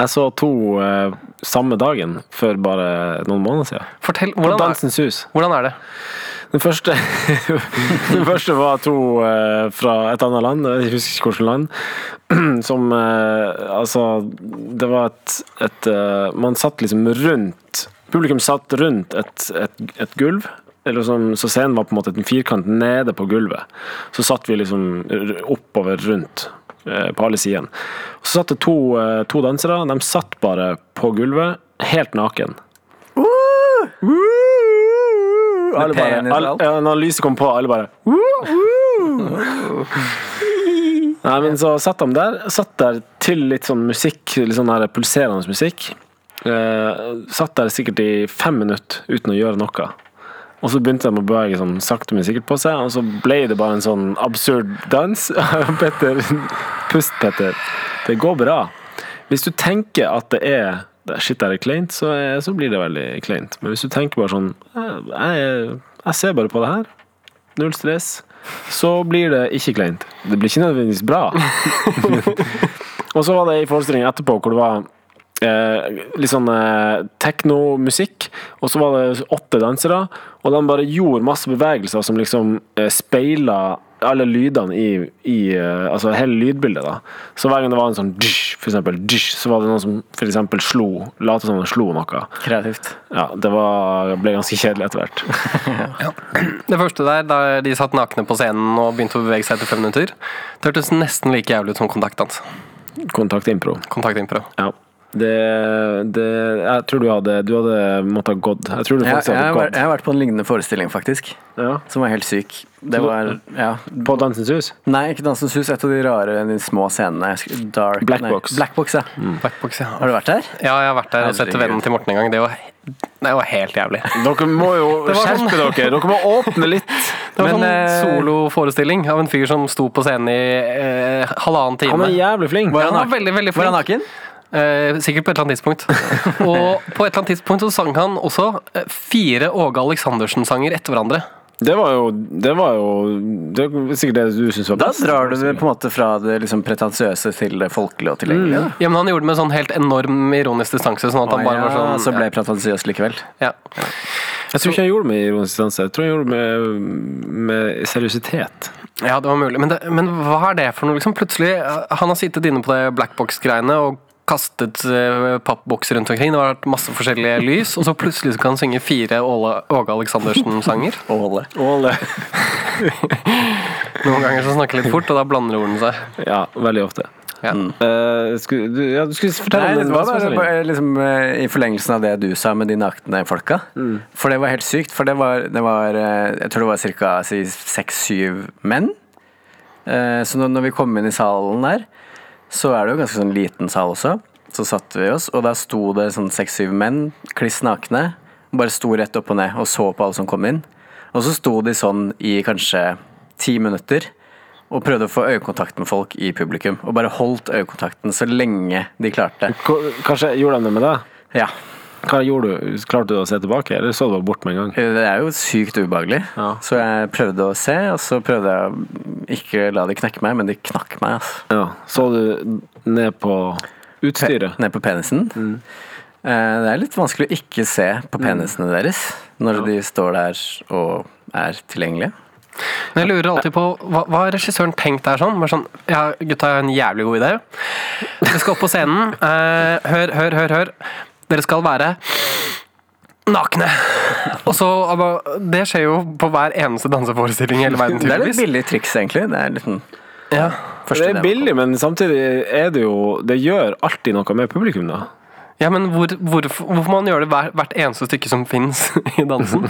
A: Jeg så to eh, samme dagen for bare noen måneder siden.
B: Fortell,
A: På
B: hvordan er,
A: Dansens Hus.
B: hvordan er det?
A: Den første, (laughs) den første var to eh, fra et annet land, jeg husker ikke hvilket land, (clears throat) som eh, Altså, det var et, et eh, Man satt liksom rundt Publikum satt rundt et, et, et gulv. Eller sånn, så scenen var på en måte en firkant nede på gulvet. Så satt vi liksom r- oppover rundt eh, på alle sidene. Så satt det to, eh, to dansere. De satt bare på gulvet, helt naken. Alle bare,
C: penis og
A: alle,
C: alt.
A: ja, når lyset kom på, alle bare «Woo, woo!» (laughs) Nei, men så satt de der Satt der til litt sånn musikk Litt sånn der pulserende musikk eh, Satt der sikkert i fem minutter Uten å gjøre noe og så begynte de å bevege sånn sakte men sikkert på seg, og så ble det bare en sånn absurd dans. (laughs) Petter, pust, Petter. Det går bra. Hvis du tenker at det er det er shit, det er kleint, så, er, så blir det veldig kleint. Men hvis du tenker bare sånn «Jeg- jeg, jeg ser bare på det her, null stress, så blir det ikke kleint. (laughs) Det blir ikke nødvendigvis bra. og så var det en forestilling etterpå hvor det var eh, litt sånn eh, teknomusikk, og så var det åtte dansere, og de bare gjorde masse bevegelser som liksom eh, speila alle lydene i, i eh, altså hele lydbildet. da. Så hver gang det var en sånn dysj, for eksempel, dysj, så var det noen som for eksempel slo, lot som de slo noe.
C: Kreativt.
A: Ja, det var, ble ganske kjedelig etter (laughs) hvert.
B: Det første der, da de satt nakne på scenen og begynte å bevege seg etter fem minutter, det hørtes nesten like jævlig ut som kontaktdans.
A: Kontakt impro.
B: Kontaktimpro.
A: Ja. Det, det Jeg tror du hadde Du hadde måttet ha gått. Jeg tror du
C: Jeg,
A: faktisk
C: jeg, har
A: hadde
C: vært- jeg
A: gått.
C: har vært på en lignende forestilling, faktisk.
A: Ja.
C: Som var helt syk. Det var ja.
A: På Dansens Hus?
C: Nei, ikke Dansens Hus. Et av de rare, de små scenene. Jeg husker- Dark
A: Black
C: nei,
A: Box.
C: Black Box, ja.
B: Blackbox, ja.
C: Har du vært der?
B: Ja, jeg har vært der og sett
C: Herregud.
B: vennen til Morten en gang. Det var, det var helt jævlig.
A: Dere må jo
B: Det var
A: skjerpe
B: sånn-
A: dere! Dere må åpne litt!
B: Det var
C: Men,
B: sånn
C: eh,
B: soloforestilling av en fyr som sto på scenen i eh, halvannen time.
A: Han er jævlig flink.
B: han var veldig, veldig
C: Var han
B: flink.
C: naken?
B: Eh, sikkert på et eller annet
C: (laughs)
B: tidspunkt. og på et eller annet tidspunkt så sang han også eh, fire Åge Aleksandersen-sanger etter hverandre.
A: Det var jo Det var jo det var sikkert det du syns var
C: Da
A: best.
C: drar du det på en måte fra det liksom pretensiøse til det folkelige og tilgjengelige. da.
B: Ja, men han gjorde det med sånn helt enorm ironisk distanse. Sånn at han
C: Å
B: bare var
C: ja,
B: sånn
C: så ble jeg pretensiøs likevel.
B: ja.
A: Jeg tror ikke jeg gjorde det med ironisk distanse. Jeg tror jeg gjorde det med, med seriøsitet.
B: ja, det var mulig. Men, det, men hva er det for noe, liksom? Plutselig eh, Han har sittet inne på det blackbox-greiene og kastet eh, pappbokser rundt omkring. Det har vært masse forskjellige lys, og så plutselig så kan han synge fire Åla- Åge Aleksandersen-sanger.
C: Åle.
B: Noen ganger så snakker jeg litt fort, og da blander ordene seg.
A: (laughs) Ja, veldig ofte.
B: Ja.
C: Mm.
A: Eh, skulle, du, ja, du skulle fortelle
C: Nei,
A: om
C: det
A: den
C: var bare,
A: dansforestillingen.
C: bare liksom, eh, I forlengelsen av det du sa med de nakne folka. For det var helt sykt. For det var, det var eh, Jeg tror det var ca. seks-syv menn. Eh, Så når- når vi kom inn i salen der, så er det jo ganske sånn liten sal også. Så satte vi oss, og da sto det sånn seks-syv menn, kliss nakne, bare sto rett opp og ned og så på alle som kom inn. Og så sto de sånn i kanskje ti minutter og prøvde å få øyekontakt med folk i publikum. Og bare holdt øyekontakten så lenge de klarte.
A: Hva- Kanskje gjorde de det med deg?
C: Ja.
A: Hva gjorde du? Klarte du å se tilbake, eller så du bare bort med en gang?
C: Det er jo sykt ubehagelig.
A: Ja.
C: Så jeg prøvde å se, og så prøvde jeg å ikke la de knekke meg, men de knakk meg. Altså.
A: Ja, Så du ned på utstyret?
C: ned på penisen.
A: Mm.
C: Eh, Det er litt vanskelig å ikke se på penisene deres når de står der og er tilgjengelige.
B: Men jeg lurer alltid på hva, hva har regissøren tenkt der sånn? Bare sånn ja, gutta, jeg har en jævlig god idé. Dere skal opp på scenen. Eh, hør, hør, hør, hør. Dere skal være nakne. Og så altså, Det skjer jo på hver eneste danseforestilling i hele verden,
C: Det er litt
B: tydeligvis.
C: billig triks, egentlig. Det er litt den
B: Ja.
C: første
A: Det er
C: ideen.
A: billig, men samtidig er det jo Det gjør alltid noe med publikum, da.
B: ja, men hvor, hvorfor, hvorfor man gjør det hver, hvert eneste stykke som fins i dansen?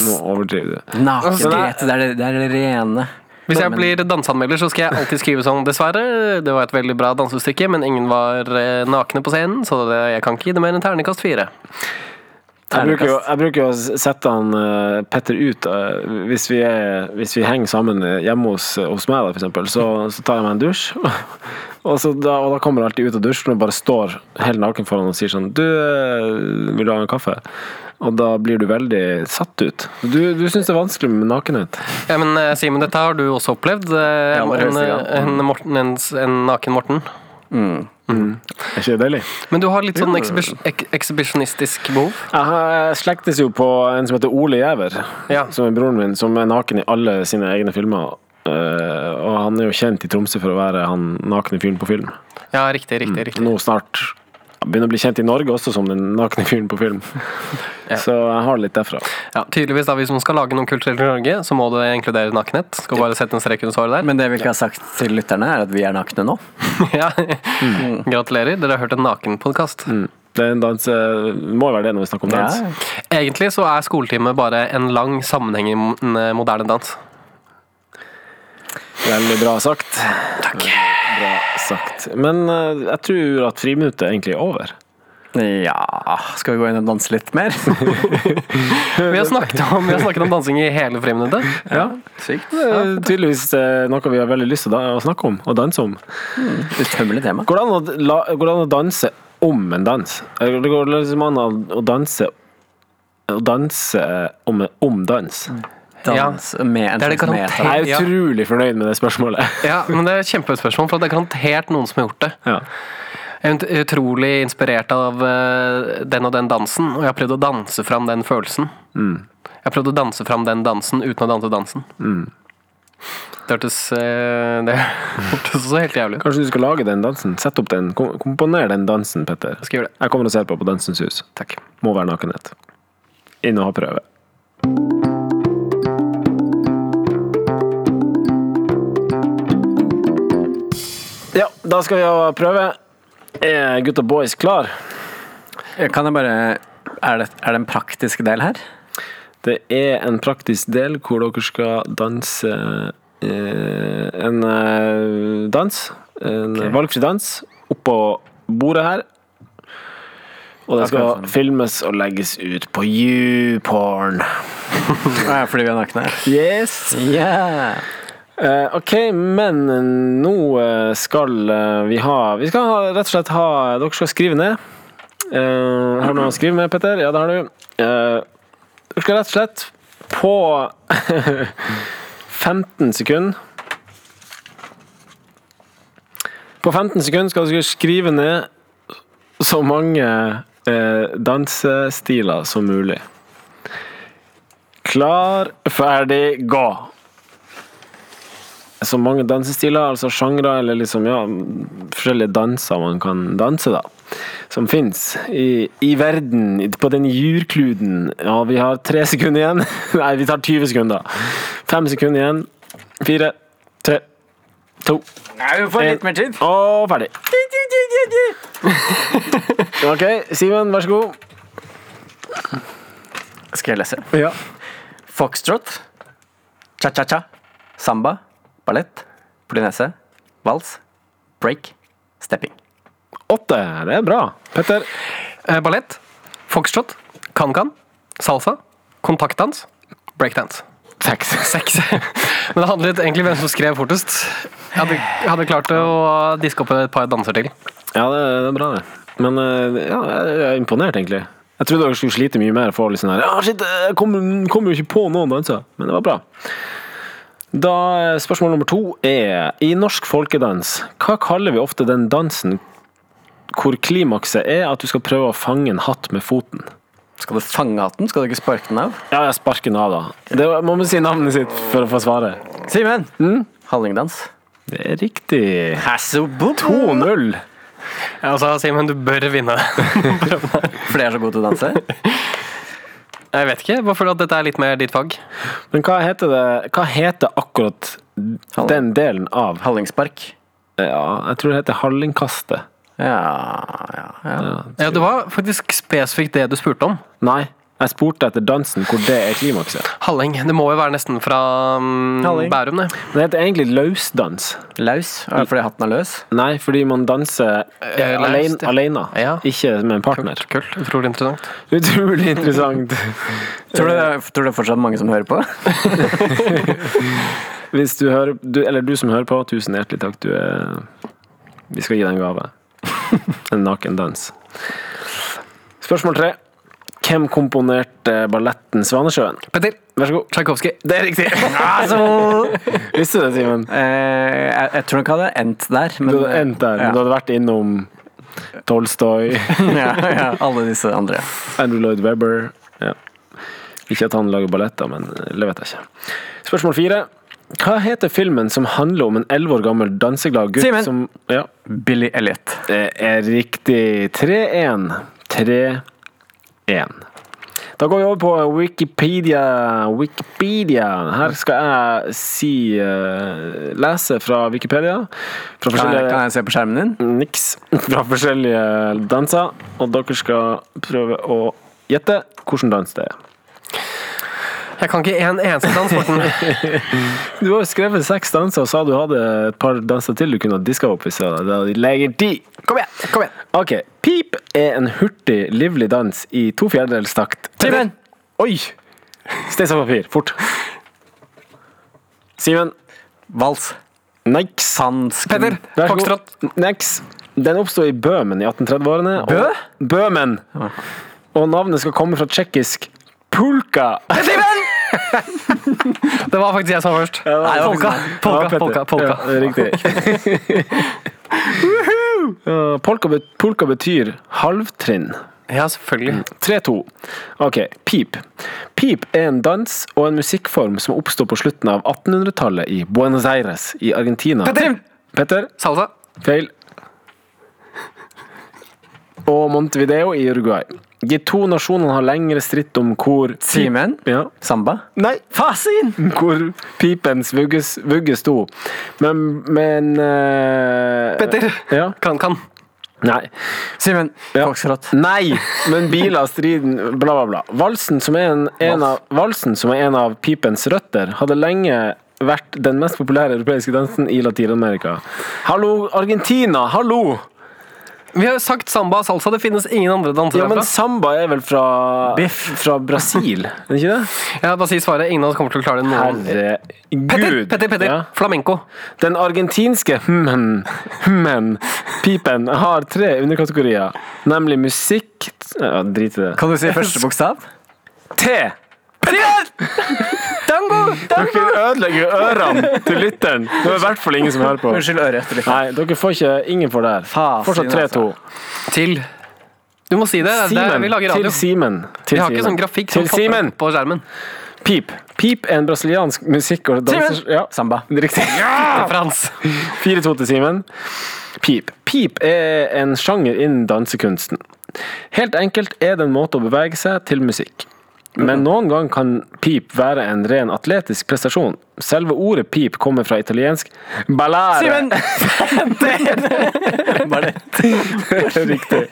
A: Nå overdriver du.
C: Nakenhet, det er det, det er det rene.
B: Hvis jeg
C: Men-
B: blir danseanmelder, så skal jeg alltid skrive sånn Dessverre, det var et veldig bra dansestykke, men ingen var eh, nakne på scenen, så det, jeg kan ikke gi det mer enn ternekast fire.
A: Jeg bruker, jo, jeg bruker jo å sette han eh, Petter ut eh, hvis vi, er, hvis vi henger sammen eh, hjemme hos, hos meg, da, for eksempel, så, så tar jeg meg en dusj. (laughs) Og, så da, og da kommer han alltid ut av dusjen og bare står helt naken foran og sier sånn Du, eh, vil du ha en kaffe? Og da blir du veldig satt ut. Du, du syns det er vanskelig med nakenhet.
B: Ja, men eh, Simen, dette har du også opplevd. eh,
C: Ja, det
B: en,
C: høres ikke an.
B: en, Morten, en, s- en naken Morten.
A: Er ikke det deilig?
B: Men du har litt sånn ekshibis- ek- ekshibisjonistisk behov.
A: Jeg har- jeg slektes jo på en som heter Ole Giæver,
B: Ja.
A: som er broren min, som er naken i alle sine egne filmer. Eh, og han er jo kjent i Tromsø for å være han nakne fyren på film.
B: Ja, riktig, riktig. riktig.
A: Nå snart begynner å bli kjent i Norge også som den nakne fyren på film. Så jeg har det litt derfra.
B: Ja, Mm. tydeligvis da, Hvis man skal lage noe kulturelt i Norge, så må det inkludere nakenhet. Skal bare sette en strek under svaret der.
C: Men det vi ikke har sagt til lytterne, er at vi er nakne nå.
B: (laughs) ja. Mm. Gratulerer, dere har hørt en nakenpodkast.
A: Det er en dans, eh, må jo være det når vi snakker om dans.
C: Ja.
B: Egentlig så er skoletime bare en lang sammenhengende moderne dans.
A: Veldig bra sagt. Takk. Bra sagt. Men eh, jeg tror at friminuttet egentlig er over.
C: ja Skal vi gå inn og danse litt mer? (laughs)
B: Vi har snakket om, vi har snakket om dansing i hele friminuttet.
A: Ja.
C: Sykt.
A: Det er tydeligvis eh, noe vi har veldig lyst til da- å snakke om og danse om.
C: Utømmelig tema.
A: Går det an å, la, går det an å danse om en dans? Eller går det liksom an å, å danse å danse eh, om, om dans?
C: Dans med en
B: Det er det
C: slags
B: garantert.
C: meta.
A: Jeg er utrolig fornøyd med det spørsmålet. (laughs)
B: Ja, men Det er et kjempespørsmål, for det er garantert noen som har gjort det.
A: Ja.
B: Jeg er utrolig inspirert av eh, den og den dansen, og jeg har prøvd å danse fram den følelsen. Jeg har prøvd å danse fram den dansen uten å danse dansen. Det hørtes eh, Det (laughs) hørtes også helt jævlig ut.
A: Kanskje du skal lage den dansen? Sett opp den. Kom- Komponer den dansen, Petter.
B: Jeg skal gjøre det.
A: Jeg kommer og ser på på Dansens hus.
B: Takk.
A: Må være nakenhet. Inn og ha prøve. Ja, da skal vi ha prøve. Er gutta boys klar?
C: Kan jeg bare Er det, er det en praktisk del her?
A: Det er en praktisk del hvor dere skal danse eh, en eh, dans. En valgfri dans oppå bordet her. Og det skal filmes og legges ut på YouPorn.
C: Ja, fordi vi er nakne.
A: Yes!
C: Yeah.
A: Eh, ok, men nå eh, skal eh, vi ha Vi skal ha, rett og slett ha Dere skal skrive ned. Eh, har du noe å skrive med, Petter? Ja, det har du. Eh, dere skal rett og slett på (laughs) 15 sekunder På 15 sekunder skal dere skrive ned så mange eh, dansestiler som mulig. Klar, ferdig, gå! så mange dansestiler, altså sjangre, eller liksom, ja, forskjellige danser man kan danse, da. Som fins i, i verden, på den jurkloden. Ja, vi har tre sekunder igjen. (laughs) Nei, vi tar 20 sekunder. Fem sekunder igjen. Fire, tre, to
C: Nei, vi får litt mer tid.
A: og ferdig. (laughs) OK, Simen, vær så god.
C: Eh, Skal jeg lese?
A: Ja.
C: Foxtrot, cha-cha-cha, samba, ballett, polynese, vals, break, stepping.
A: Åtte. Det er bra. Petter.
B: Eh, Ballett, foxtrot, can-can, salsa, kontaktdans, breakdance. (laughs)
A: Seks.
B: Seks. Men det handlet egentlig om hvem som skrev fortest. Jeg hadde, jeg hadde klart å diske opp et par danser til.
A: Ja, det, det er bra, det. Men eh, ja, jeg jeg er imponert, egentlig. Jeg trodde dere skulle slite mye mer. og få litt sånn her, ah, shit, jeg kom, kom jo ikke på noen danser, men det var bra. Da eh, Spørsmål nummer to er I norsk folkedans, hva kaller vi ofte den dansen hvor klimakset er at du skal prøve å fange en hatt med foten?
C: Skal du fange hatten? Skal du ikke sparke den av?
A: Ja, jeg sparker den av, da. Det var- må man si navnet sitt for å få svaret.
C: Simen! Mm. Hallingdans.
A: Det er riktig.
C: Hasso Boto!
A: 2-0.
B: Jeg også, Simen, du bør vinne. (laughs)
C: Fordi jeg er så god til å danse.
B: Jeg vet ikke, jeg bare føler at dette er litt mer ditt fag.
A: Men hva heter, det, hva heter akkurat den delen av
C: Hallingspark.
A: Ja, jeg tror det heter Hallingkastet.
C: Ja, ja, ja.
B: Ja, Det var faktisk spesifikt det du spurte om.
A: Nei, jeg spurte etter dansen hvor det er klimakset.
B: Halling. Det må jo være nesten fra mm,
C: Halling.
B: Bærum, det.
A: Men det heter egentlig løsdans.
C: Laus. Er det fordi hatten er løs?
A: Nei, fordi man danser eh,
B: Eh, løst,
A: alene,
B: ja.
A: alene,
B: Ja.
A: ikke med en partner.
B: Kult. Utrolig interessant.
A: (laughs) Utrolig interessant.
C: Tror du, det er, tror du det er fortsatt mange som hører på?
A: Hvis du hører, du, eller du som hører på, tusen hjertelig takk. Du er Vi skal gi deg en gave.
B: (laughs)
A: En naken dans. Spørsmål tre. Hvem komponerte balletten Svanesjøen?
B: Petter
A: Vær så god.
B: Tsjajkovskij.
A: Det er riktig! Visste du det, Simen?
C: Eh, jeg, jeg tror nok jeg hadde endt der. Men,
A: Du hadde endt der, men du
C: Ja,
A: hadde vært innom
B: (laughs)
A: Tolstoy,
C: (laughs) ja, ja, alle disse andre.
A: Andrew Lloyd Webber ja. Ikke at han lager balletter, men det vet jeg ikke. Spørsmål fire. Hva heter filmen som handler om en elleve år gammel danseglad gutt
C: Simen!
A: som ja,
C: Billy Elliot.
A: Det er riktig. 3-1. 3-1. Da går vi over på Wikipedia. Wikipedia. Her skal jeg si eh, Lese fra Wikipedia. Fra
C: Kan jeg,
A: forskjellige
C: kan jeg se på skjermen din?
A: niks fra forskjellige danser, og dere skal prøve å gjette hvilken dans det er.
B: Jeg kan ikke en eneste dans,
A: (laughs)
B: Morten.
A: Du har jo skrevet seks danser og sa du hadde et par danser til du kunne ha diska opp. hvis jeg hadde legger de.
B: Kom igjen! kom igjen
A: Ok, Pip er en hurtig, livlig dans i to fjerdedels takt.
C: Simen!
A: Oi! Stein, saks, papir. Fort. Simen.
C: Vals.
A: Niks.
C: Sans.
B: Petter
A: Vær så god.
B: Foxtrot.
A: Niks. Den oppsto i Bøhmen i 1830-årene. og-
C: Bø?
A: Bøhmen. Og navnet skal komme fra tsjekkisk
B: (laughs)
A: pulka.
B: Det var faktisk jeg som var først. Nei, polka.
A: Ja,
B: Polka,
A: Petter. (laughs)
B: polka, polka.
A: Ja, det er riktig. Eh, polka, bet- polka betyr halvtrinn.
B: Ja, selvfølgelig.
A: 3-2. Ok, pip. Pip er en dans og en musikkform som oppstod på slutten av 1800-tallet i Buenos Aires i Argentina.
B: Petter!
A: Petter,
B: Salsa.
A: feil. Og Montevideo i Uruguay. De to nasjonene har lengre stritt om hvor pip-
C: Simen?
A: Ja.
C: Samba?
A: Nei,
C: Fasin!
A: (laughs) hvor pipens vugges, vugge sto. Men, men eh,
B: Petter.
A: Ja.
B: Kan, kan.
A: Nei.
C: Simen,
A: Ja.
C: Foxrot.
A: Nei, men biler, striden, bla, bla, bla. Valsen, som er en, en av, valsen, som er en av pipens røtter, hadde lenge vært den mest populære europeiske dansen i Latin-Amerika. Hallo, Argentina! Hallo!
B: Vi har jo sagt samba og salsa. Det finnes ingen andre danser
A: Ja, men
B: derfra.
A: samba er vel fra Fra
B: (laughs)
A: Brasil, er det ikke det?
B: Ja, bare si svaret. Ingen av oss kommer til å klare det noen.
A: Herregud.
B: Petter, Petter, Petter.
A: Ja.
B: Flamenco.
A: Den argentinske hm-men, hm-men, pipen har tre underkategorier, nemlig musikk ja, Drit i det.
C: Kan du si første bokstav?
A: T!
B: Tango!
A: Dere ødelegger ørene til lytteren. Det er i hvert fall ingen som hører på.
C: Unnskyld øret etter litt.
A: Nei, dere får ikke Ingen får det her.
C: Faen,
A: Fortsatt
C: Simen,
A: 3-2.
B: Til Du må si det. altså. det er,
A: Simen.
B: vi lager radio.
A: Til Simen.
B: Vi
A: Til
B: har ikke
A: Simen.
B: sånn grafikk som
A: Til
B: popper
A: Simen.
B: opp på skjermen.
A: Pip. Pip er en brasiliansk musikk- og danser... Ja,
C: Samba.
A: riktig. (laughs) Ah.
B: Det er Frans.
A: 4-2 til Simen. Pip. Pip er en sjanger innen dansekunsten. Helt enkelt er det en måte å bevege seg til musikk. Men noen gang kan pip være en ren atletisk prestasjon. Selve ordet pip kommer fra italiensk ballare. (laughs)
C: Simen!
A: Riktig.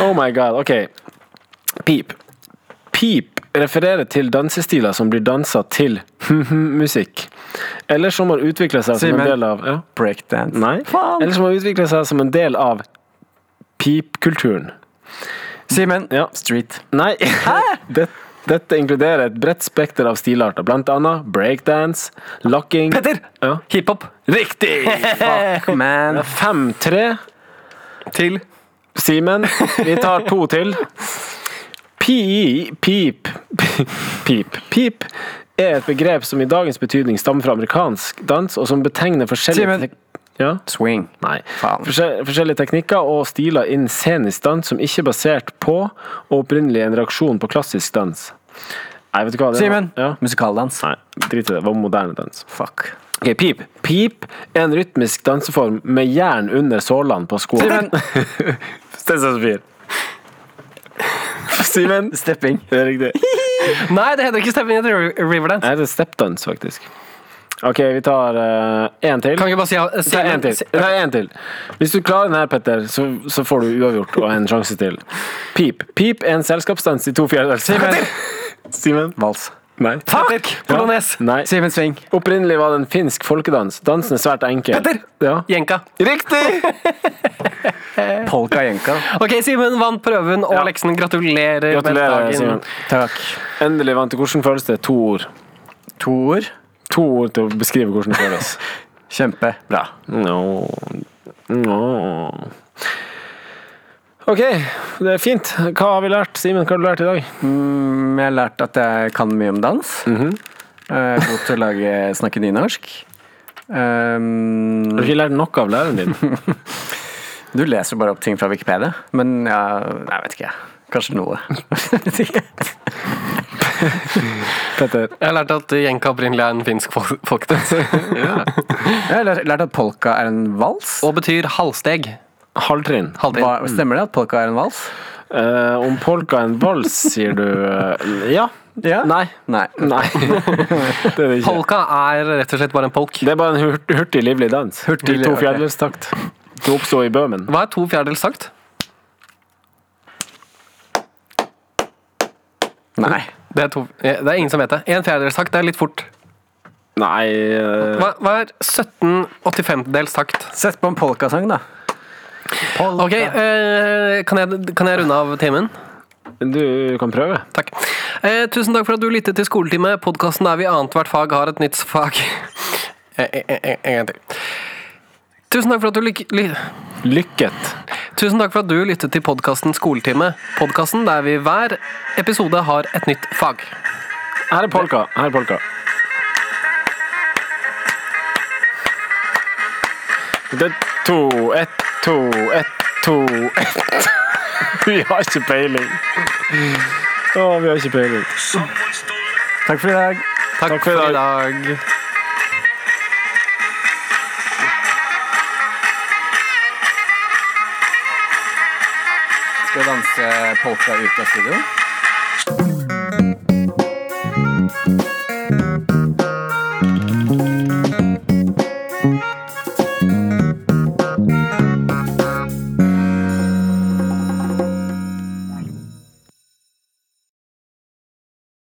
A: Oh my god. Ok. Pip. Pip refererer til dansestiler som blir dansa til musikk. Eller som har utvikla seg som
C: Simen.
A: en del av ja.
C: Breakdance.
A: Nei.
C: Faen.
A: Eller som har utvikla seg som en del av pipkulturen.
C: Simen,
A: Ja.
C: street.
A: Nei. (laughs) Det, dette inkluderer et bredt spekter av stilarter, blant annet breakdance, locking
B: Petter!
A: Ja.
B: Hiphop.
A: Riktig!
C: Fuck, man.
A: 5-3.
B: Til
A: Simen, vi tar to til. Pi, pip, pip, pip er et begrep som i dagens betydning stammer fra amerikansk dans, og som betegner forskjellige
C: Simen.
A: tek- ja?
C: Swing.
A: Nei.
C: Faen.
A: Forskjell, forskjellige teknikker og stiler innen scenisk dans som ikke er basert på og opprinnelig en reaksjon på klassisk dans. Nei, vet du hva det var-
C: Simen,
A: Ja.
C: musikaldans.
A: Nei, drit i det. Det var moderne dans.
C: Fuck.
A: Ok, pip. Pip er en rytmisk danseform med jern under sålene på skoene.
C: Simen,
A: (laughs)
C: (laughs)
A: Steinsensfyr. Simen.
C: stepping.
A: Det er riktig.
B: (laughs) Nei, det heter ikke Stepping into Riverdance.
A: Nei, det er stepdance, faktisk. OK, vi tar én til.
B: Kan vi bare si, si
A: Ta en til. Ta en til. Hvis du klarer den her, Petter, så, så får du uavgjort og en sjanse til. Pip. Pip er en selskapsdans i to fjerdedels.
C: Simen.
A: Simen.
C: Vals.
A: Nei.
B: Fuck! Polonaise.
A: Nei.
C: Simen, swing.
A: Opprinnelig var det en finsk folkedans. Dansen er svært enkel.
B: Petter!
A: Ja.
B: Jenka.
A: Riktig!
C: Polka jenka.
B: Ok, Simen vant prøven og leksen. Gratulerer. med
A: Gratulerer,
B: dagen.
A: Simen.
C: Takk.
A: Endelig vant du. Hvordan føles det? To ord.
C: To ord.
A: To ord til å beskrive hvordan det føles.
C: Kjempe. Bra.
A: No. No. OK, det er fint. Hva har vi lært, Simen? Hva har du lært i dag?
C: Mm, Jeg har lært at jeg kan mye om dans.
A: Mhm.
C: Jeg er god til å lage, snakke nynorsk.
A: Har du
C: Um,
A: ikke lært nok av læreren din?
C: du leser bare opp ting fra Wikipedia, men ja, jeg vet ikke. Kanskje
A: (laughs)
C: noe. (laughs)
A: Petter.
B: Jeg har lært at jenka opprinnelig er en finsk fol-
A: (laughs)
B: folkedans.
C: jeg har lært- lært at polka er en vals.
B: og betyr halvsteg.
A: Halvtrinn.
B: Halvtrinn.
C: Hva, stemmer det at polka er en vals?
A: Eh, om polka er en vals, sier du eh, ja.
C: Ja.
A: Nei.
C: Nei.
A: Nei. (laughs) Det er det ikke.
B: Polka er rett og slett bare en polk.
A: Det er bare en hurt, hurtig, livlig dans. Hurtig, I to
C: livlig, ok.
A: fjerdedelstakt. Det oppsto i Bøhmen.
B: Hva er to fjerdedels takt?
C: Nei.
B: Det er, to, ja, det er ingen som vet det. En fjerdedels takt det er litt fort.
A: Nei eh,
B: Hva, hva er 17 85-dels takt?
C: Sett på en polkasang, da.
B: Ok, eh, kan, jeg, kan jeg runde av timen?
A: Du kan prøve.
B: Takk. Eh, tusen takk for at du lyttet til Skoletime, podkasten der vi i annethvert fag har et nytt fag. (laughs) Eh, eh, eh, En gang til. Tusen takk for at du lik... Ly
A: Lykket.
B: Tusen takk for at du lyttet til podkasten Skoletime. Podkasten der vi hver episode har et nytt fag.
A: Her er polka. Her er polka.
C: Det er to, ett, to, ett, to, ett. (laughs) Vi har ikke peiling. Å, vi har ikke peiling.
H: Takk for i dag.
B: Takk,
C: Takk for i
B: for i dag.
H: Skal vi danse polka ut av studio?